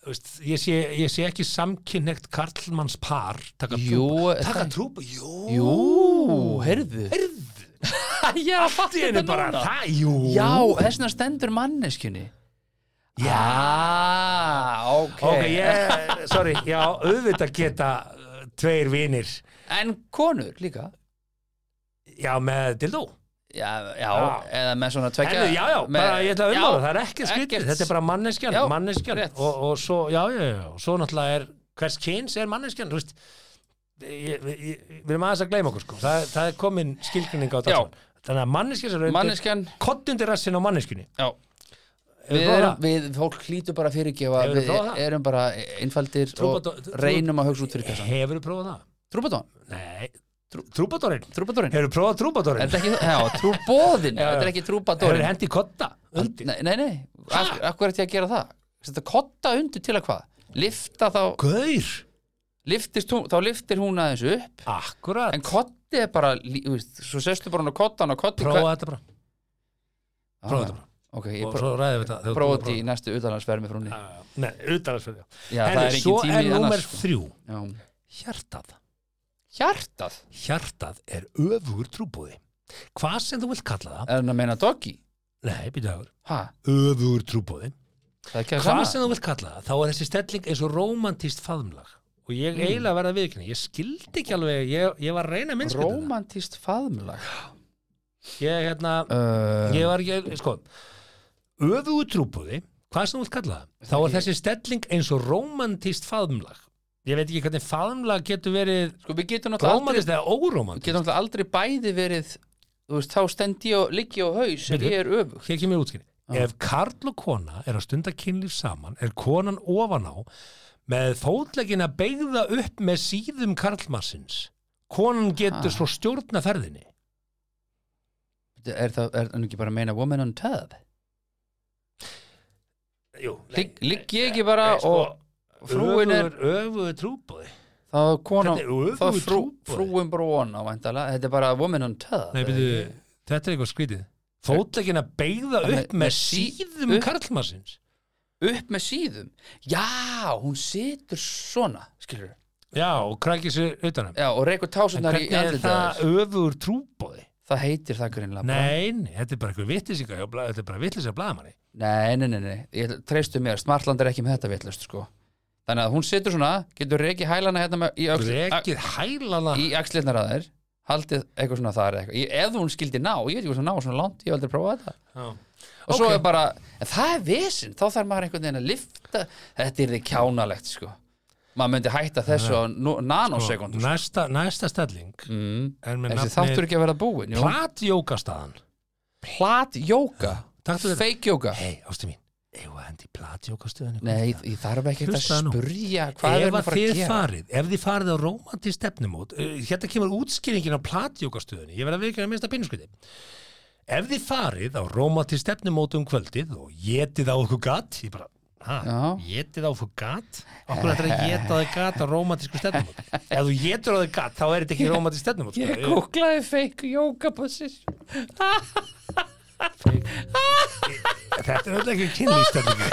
Þú veist, ég, sé, ég sé ekki samkynnegt karlmanns par taka
Jú,
trúpa
er
taka
það-
trúpa, jú,
Jú, heyrðu
heyrðu
Já,
allt í einu bara það, jú
Já, þess vegna stendur manneskjunni Já, ok,
ok, ég, sorry, já, auðvitað geta uh, tveir vinir
En konur líka
já, með dildó
Já, já,
Já.
eða með svona tvekja
Herðu, já, já, bara ég ætla að umlaða, það er ekki skrítið
ekkert.
þetta er bara manneskjan,
Já,
manneskjan
rétt.
og, og svo, já, já, já, já, svo náttúrulega er hvers kyns er manneskjan, þú veist ég- ég- ég- við erum aðeins að gleyma okkur sko það, það er komin skilgrinning á þetta
Já.
allt saman. þannig að manneskjan sem er undir
Manneskjan,
kottundir rassin á manneskjunni
já
Hefur
Við,
prófað
erum,
það?
við fólk hlýtur bara að fyrirgefa
Hefurðu
Við
prófað það?
erum bara einfaldir og
Trúbadó- trú-
reynum að hugsa út fyrir kassan
hefur þú prófað það?
Trúbadón,
nei, trú, trúbadórin
trúbadórin
hefur þú prófað
Er
trúbadórin?
þetta ekki, já, trúbóðin
Já, já.
Þetta er ekki
hefur
trúbadórin
þú hendi kotta? undir?
Nei, nei, nei. Af, af hverju ætti ég að gera það? Þetta kotta undir til að hvað? Lifta þá,
gaur,
liftist hún, þá liftir hún aðeins upp
akkurat
En kotti er bara, lí- þú veist, svo sestu bara hún á kottan og kotti
prófa þetta bara, prófa þetta bara
Ok, ég
og
prófa
svo ræðum við þetta þegar þú
prófa
prófar.
þetta í næstu utanlandsferð með frúnni
Já, já, já. Ah, Nei, utalagsferð
Já, það er
Herri,
engin
svo
tími
er númer
annars sko.
þrjú
Já.
Hjartað
Hjartað,
Hjartað er öfugur trúbúði Hvað sem þú vilt kalla það
er hann að meina doggi?
Nei, býtaður
Ha,
Öfugur trúbúði
það er ekki að
Hvað
sama
sem þú vilt kalla það Þá er þessi stelling eins og rómantíst faðumlag Og
Mm.
ég eiginlega verða viðkynni Ég skildi ekki alveg Ég, ég var að reyna minnst
Rómantíst faðmlag
Ég, hérna,
uh,
ég var ekki Sko Öfugur trúbúði Hvað sem þú vilt kalla það Þá er þessi stelling eins og rómantíst faðumlag Ég veit ekki hvernig faðumlag getur verið
Sko, við getum náttúrulega aldrei
Rómantist eða
Við
órómantist
getum náttúrulega aldrei bæði verið Þú veist, þá stend ég og liggi á haus En
Bíddu.
ég er öfug
hér kemur útskynni ef karl og kona er að stunda kynlíf saman er konan ofan á með fótleggina beigða upp með síðum karlmassins konan getur
Ha.
svo stjórna ferðinni
Er það er hann ekki bara að meina woman on tub?
Jú,
Ligg ligg ég ekki bara og frúin er
öfuðu trúbúði
Það kona,
Þetta er öfugur
það frú,
trúboði.
frúin bara on á væntalega Þetta er bara woman on tub
Nei, byrju, þetta er eitthvað skrítið fótleggina beigða
Með-
upp
með
með
sí-
síðum
upp.
karlmassins
Upp með síðum Já, hún situr svona Skilur
já, og krækir sér utanum
Já, og reykur tásunar í
hvernig er
andlitið á
það
þér.
öfugur trúbúði
það heitir það greinlega bara.
Nein, þetta er bara eitthvað vitlisinga Þetta er bara vitlisinga blaðamanni
nei, nei, nei, nei, ég treystu mér Smartland er ekki með þetta vitlust sko. þannig að hún situr svona, getur reikið hælana hérna með, í, öxl,
Rekið hælana
a- í axlirnar að þér haldið eitthvað svona þar eitthvað. Ég, ef hún skildi ná, ég veit ekki hvort hún ná svona langt ég hef aldrei prófað þetta
Já.
og svo
Ok.
er bara, en það er vesinn þá þarf maður einhvern veginn að lifta þetta er því kjánalegt sko maður myndi hætta þessu á nú- nanosekúndu sko.
Næsta, næsta stelling
mm.
er með
þessi
nafni
þáttur ekki að vera búin jú.
Platjókastaðan
platjóka,
Taktu þetta
feikjóka
Hei, ástu mín Eða hendi platjókastuðan
Ah. nei, ég þarf ekki að
Hlustaðu nú.
spurja hvað
Ef
erum
að
að fara
þið
að gera
farið, ef þið farið á rómantist stefnumót, uh, hérna kemur útskýringin á platjókastuðinni, ég verð að virka að minnsta pinnskuti. Ef þið farið á rómantist stefnumót um kvöldið og getið á okkur gatt, ég bara, hæ, getið á okkur gatt? Okkur ættir að geta á þig gatt á rómantisku stefnumót. Ef þú getur á þig gatt, þá er þetta ekki rómantist stefnumót. sko.
ég kúklaði feikjóka position
Þetta er öll ekki kynlýstefningi.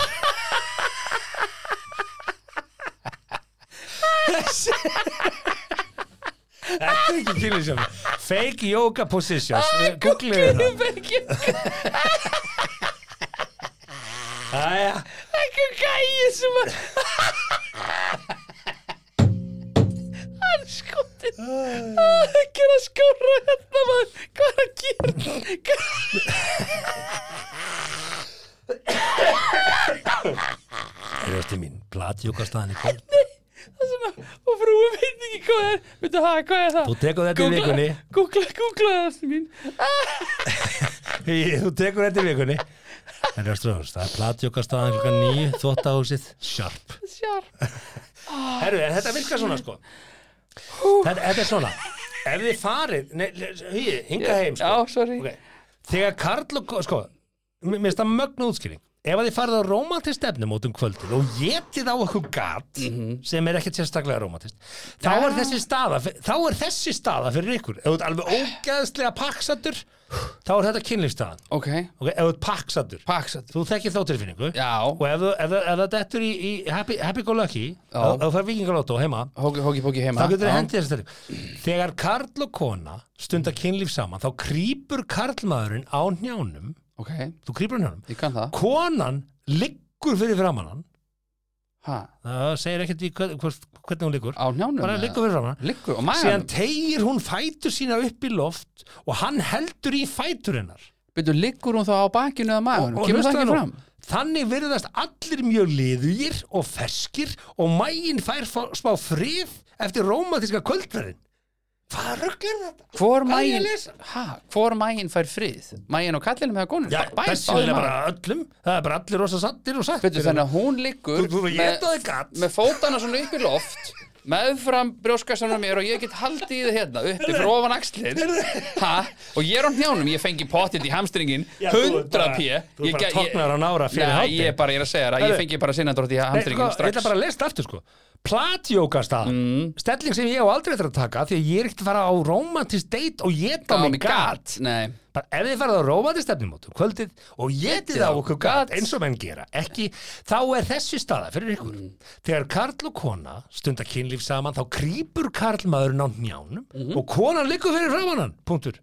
Þetta er ekki kynlýstefningi. Fake yoga positions. hérna. Google það.
feikjóka
Æja,
einhver gæi sem að hann skotir ekki er að skóra hérna maður hvað er að gera Hvað-
er þetta mín platjókastaðan í kvöld?
það sem að og frúin veit ekki hvað er veitu það hvað er það
Þú tekur þetta í vikunni.
googla googla það sem mín
Þú tekur þetta í vikunni. En Röströðurs, það er platjókastaðan klokkan nýju, þvóttahúsið, sharp.
sjár
Herru, en þetta virkar svona sko þetta, þetta er svona Ef þið farið, nei, hýði, hinga heim sko.
Já, sorry.
Ok. Þegar Karl og, Ko- sko, mér mér finnst það mögnu útskýring Ef að þið farið á rómantist stefnum út um kvöldið og getið á eitthvað gat
Mhm.
sem er ekkert sérstaklega rómantist þá er þessi staða fyr- þá er þessi staða fyrir ykkur ef þú ert alveg ógeðslega paksatur þá er þetta kynlífstaðan
ok
okay, ef þú ert paksatur
paksat
þú þekkir þá tilfinningu
Já.
og ef, þú- ef, þú- ef það dettur í, í happy, happy go lucky
Já.
ef ef þú fær vikingalótó heima
hóki hóki hóki heima
þá getur
Já.
þið hendið þessi stærning þegar karl og kona stunda kynlíf saman þá krýpur karlmaðurinn á njánum
ok
þú krýpur á njánum
ég kann það
konan liggur fyrir framan hann
ha
það segir ekkert við hvern- hvort- hvernig hún liggur
á njánum
bara
eða?
liggur fyrir framan hann
liggur og
síðan
maður
tegir hún fætur sína upp í loft og hann heldur í fætur hennar
byrju liggur hún þá á bakinu eða maður
Og
kemur það
hlustaðu
ekki
nú,
fram
Þannig virðast allir mjög liðugir og ferskir og mægin fær fá- smá frið eftir rómatíska kvöldverðin. Hvaða rugl er þetta?
Hvor
Hvað er ég að
maginn,
lesa?
ha, hvor maginn fær frið? Maginn og kallinum hefða konur?
Já,
Bæði-
þessi
báðir
vilja
maður.
bara öllum. Það er bara allir rosa sattir og
Veitu,
sattir.
þannig að hún liggur
Þú- þú- þú- ég
með,
ætlaði gat.
með fótana svona upp í loft meðfram brjóskastanum mér og ég get haldið í það hérna uppi fyrir ofan axlir ha, og ég er á hnjánum, ég fengi pottit í hamstringin
Já, þú ert
100
bara-
p
þú ert bara tognaður á nára fyrir
Nei,
hádegi.
ég er bara, ég er að segja það,
Heyrðu.
ég fengi bara sinnandrótt í
Nei, sko,
hamstringin
ég ætla
strax
bara að lesa aftur sko Platjókastað, stelling sem ég á aldrei eftir að taka því að ég er ekkert að fara á romantist date og geta á
Á
mig
mig
gat
Nei,
bara ef þið farið á rómandi stefnumótum kvöldið og getið á okkur gat
gat.
eins og menn gera, ekki þá er þessi staða fyrir ykkur
Mm.
þegar karl og kona stunda kynlíf saman þá krýpur karlmaðurinn á njánum
Mm.
og konan liggur fyrir framan hann punktur,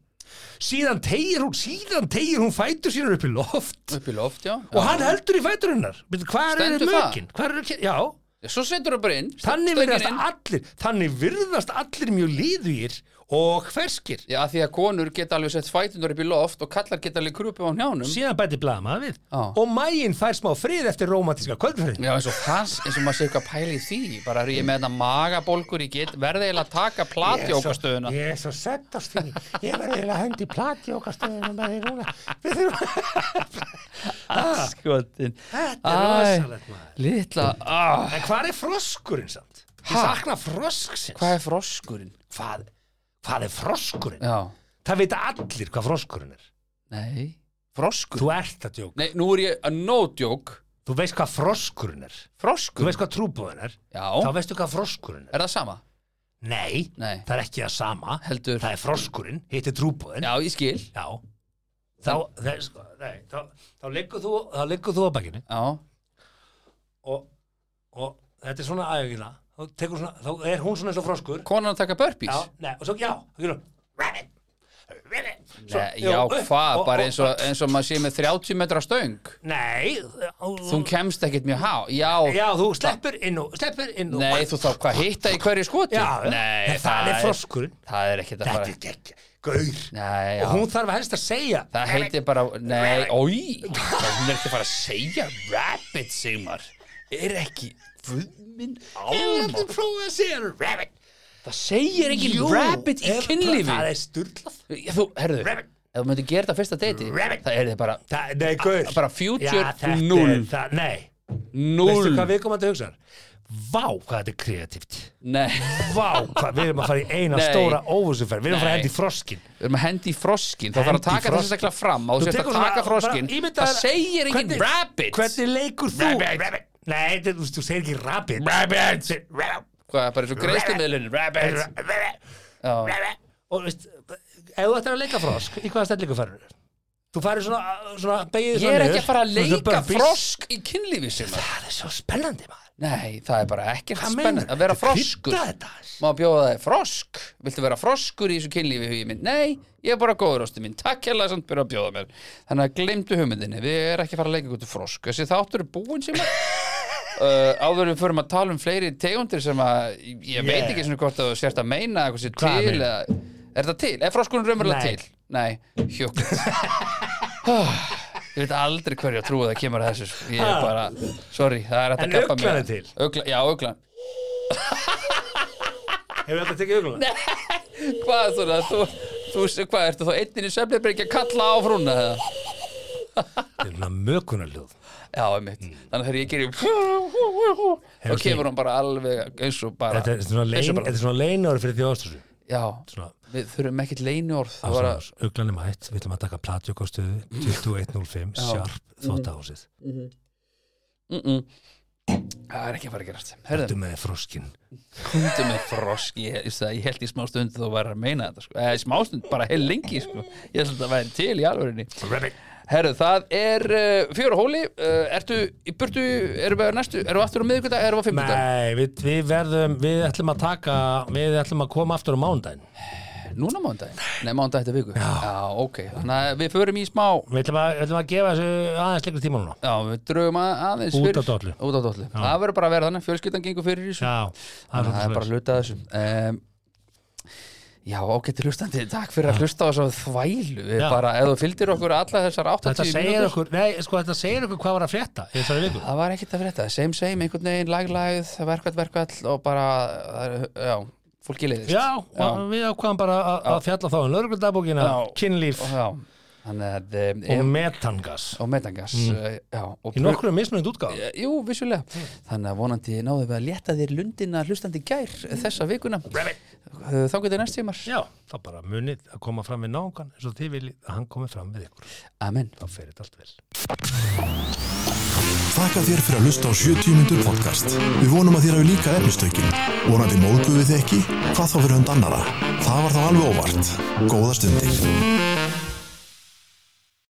síðan tegir hún síðan tegir hún fætur sínar upp í loft
upp í loft, já
og hann heldur í fætur hennar Bíddu, hvar eru
Stendur það?
mökin, hvar eru kyn- já,
Svo setur það bara inn
þannig
stöngin
virðast
inn.
allir þannig virðast allir mjög líðugir og ferskir
Já, af því að konur geta alveg sett fætundur upp í loft og kallar geta alveg krupið á njánum
síðan bæti blaðmaður við
Já.
og mægin fær smá frið eftir romantíska kvöldferðin
Já, eins og það, eins og maður sé eitthvað pæli í því bara er ég með þetta magabólgur ég get verði eiginlega að taka platjókastöðuna
ég er svo sett á stíni ég verði eiginlega hönd í platjókastöðinu með því núna Við þurfum-
Skotin
þetta er rosalegt maður
Lítla, ah,
en hvað er froskurinn samt? ég
Ha?
sakna frosksins
hvað er froskurinn?
hvað, hvað er froskurinn?
Já,
það vita allir hvað froskurinn er
nei Froskur?
þú ert að djóka
Nei, nú er ég að no joke
þú veist hvað froskurinn er þú
Froskur?
veist hvað trúbúðin er þá
Já,
veistu hvað froskurinn er
er það sama?
nei,
Nei,
það er ekki það sama
heldur
það er froskurinn, hitt er trúbúðin
Já, ég skil
Já Þá, þeir, sko, nei, þá, þá liggur þú þá liggur þú á bakinu
Já,
og, og þetta er svona ægina þá, tekur svona, þá er hún svona eins og froskur
konan að taka burpees
Já, nei, og svo, já, þá gerir hún Svo-
Nei,
jú,
já,
upp,
hvað,
og-
bara
og-
eins og, eins og maður sé með 30 metra stöng
Nei
Þú
Mm.
kemst ekkert mjög há Já,
Já, þú sleppur inn og sleppur inn og
nei, þú þá hvað hitta í hverju skoti
Já, já.
nei,
Nei, það er froskurinn.
Það er ekkert að
Þetta er
fara
geggja, gaur
Nei, já
Og hún þarf helst að segja
Það heitir bara, nei, oi Það hún er ekki að fara að segja Rabbit, Sigmar Er ekki, guðminn
Þetta er prófið að segja Rabbit
Það segir ekki rabbit í
ef-
kynlífi
Það er sturglað
Já, Þú, herðu,
Rabbit.
ef þú myndir gera þetta á fyrsta deiti
Rabbit.
Það er þið bara
Það- Nei, gaur
bara future
Já, þetta er
null.
það- Nei, veistu hvað
null
við komum að hugsa Vá, hvað þetta er kreatíft
Nei,
Vá, hvað, við erum að fara í eina
Nei.
stóra óvusumferð Við erum að fara að
Nei.
hendi í froskin
við erum að hendi í froskin Þá þarf
Hendi
að
í
taka
froskin.
þess að fram og
Þú
þú sérst
tekur
að
svona-
taka froskin
bara ímyndaðu-
Það segir ekki
Hvernig-
rabbit
Hvernig leikur þú?
Rabbit.
Nei, þetta er- þú, þú segir ekki rabbit Rabbit
Hvað, bara eins og greiðstumilin Rabbit Já,
Og veist, ef þú ættir að leika frosk Í hvaða stellingu farur? Þú farir svona, svona beigir
Ég er ekki að fara að leika frosk í kynlífi Sigmar
Það er svo spennandi maður
Nei, það er bara ekkert
Hvað
spennandi
meinarðu?
Að vera
Þetta er
froskur
kryddað þetta.
Má bjóða þig frosk Viltu vera froskur í þessu kynlífi hugi minn? Nei, ég er bara góður ástu mín Takk hérlega samt byrja að bjóða mér Þannig að glemdu hugmyndinni Við erum ekki að fara að leika ykkur frosk Þessi þáttur er búin sem að uh, Áður en við förum að tala um fleiri tegundir sem að Ég veit
Yeah.
ekki svona hvort að þú sért að meina Hvað sé til
Hvað meinar?
eða, Er það til? Er froskurinn raunverulega
Nei.
til? Nei, hjókut Ég veit aldrei hverju að trúa það kemur að þessu sko. Ég er bara, sorry, það er
En
hægt að kappa
uglan er til?
Ugla, Já, uglan
Hefur þetta tekið auðvitað?
Hvað svona, þú, þú, hvað ertu þá einnin í svefnleifbergi að kalla á frúna eða?
Þetta er svona mökunarljóð
Já, einmitt, þannig að þegar ég gerir þá
Mm. Hefur
kemur hún bara alveg eins og bara
Þetta er svona
eins og
lein-
bara-
þetta er svona leinaður fyrir því ástúrsu
Já,
Svona
við þurfum ekkert leiniorð það var að,
Uglan er mætt, við ætlum að taka platjökastöðu 2105,
Mm.
sjarp, þvóttahúsið
það er ekki að fara að gerast Hörðu,
Þú með froskin
kundu með frosk ég, ég, sagði- ég held í smástund þú væri að meina þetta sko. eða í smástund, bara heil lengi sko. ég held að það væri til í alvörinni Herru, það er uh, fjör og hóli uh, Ertu í burtu, erum við á næstu Erum við aftur á miðvikudag, erum við á fimmtudag
Nei, við, við verðum, við ætlum að taka við ætlum að koma aftur á mándaginn
Núna mándaginn? Nei, mándaginn þetta viku Já, ok, þannig að við förum í smá
við ætlum að, við ætlum að gefa þessu aðeins lengri tíma núna
Já, við drögum að- aðeins
Út
fyrir
af dollu.
Út af dollu Það verður bara að vera þannig, fjölskyldan gengur fyrir í þessu
Já, það er
Þannig að það
svolítið
er bara
svoleiðis.
að hluta þessu um, Já, ágætti hlustandi, takk fyrir að hlusta á þessu þvælu Við
Já.
bara, ef þú fylgdir okkur alla þessar
Þetta
80
segir
mínútur
okkur, nei, sko þetta segir okkur hvað var að frétta í þessari viku
Það var ekkert að frétta, same same, einhvern veginn, lag, lagð, verkvæll, verkvæll og bara, það er- já, fólki leiðist
Já, og við ákvaðum bara að, að fjalla þá um lögregludagbókina,
Já.
kynlíf
Og já, þannig að,
og
um,
metangas
og metangas, mm. já, og
Í nokkru mismunandi útgáð
Eh, Jú, vissulega. Þannig að vonandi náðum við að létta þér lundina hlustandi gær þessa vikuna. Eh, Þá getur næst tímar.
Já, það bara munið að koma fram við náungan eins og þið viljið að hann komi fram við ykkur
Amen.
þá fer þetta allt vel
Þakka þér fyrir að hlusta á 70 mínútur podcast. Við vonum að þér hafi líka efnistökin. Vonandi móðguðu þið ekki, hvað þá fyrir hund annara. Það var þá alveg óvart. Góða stundir.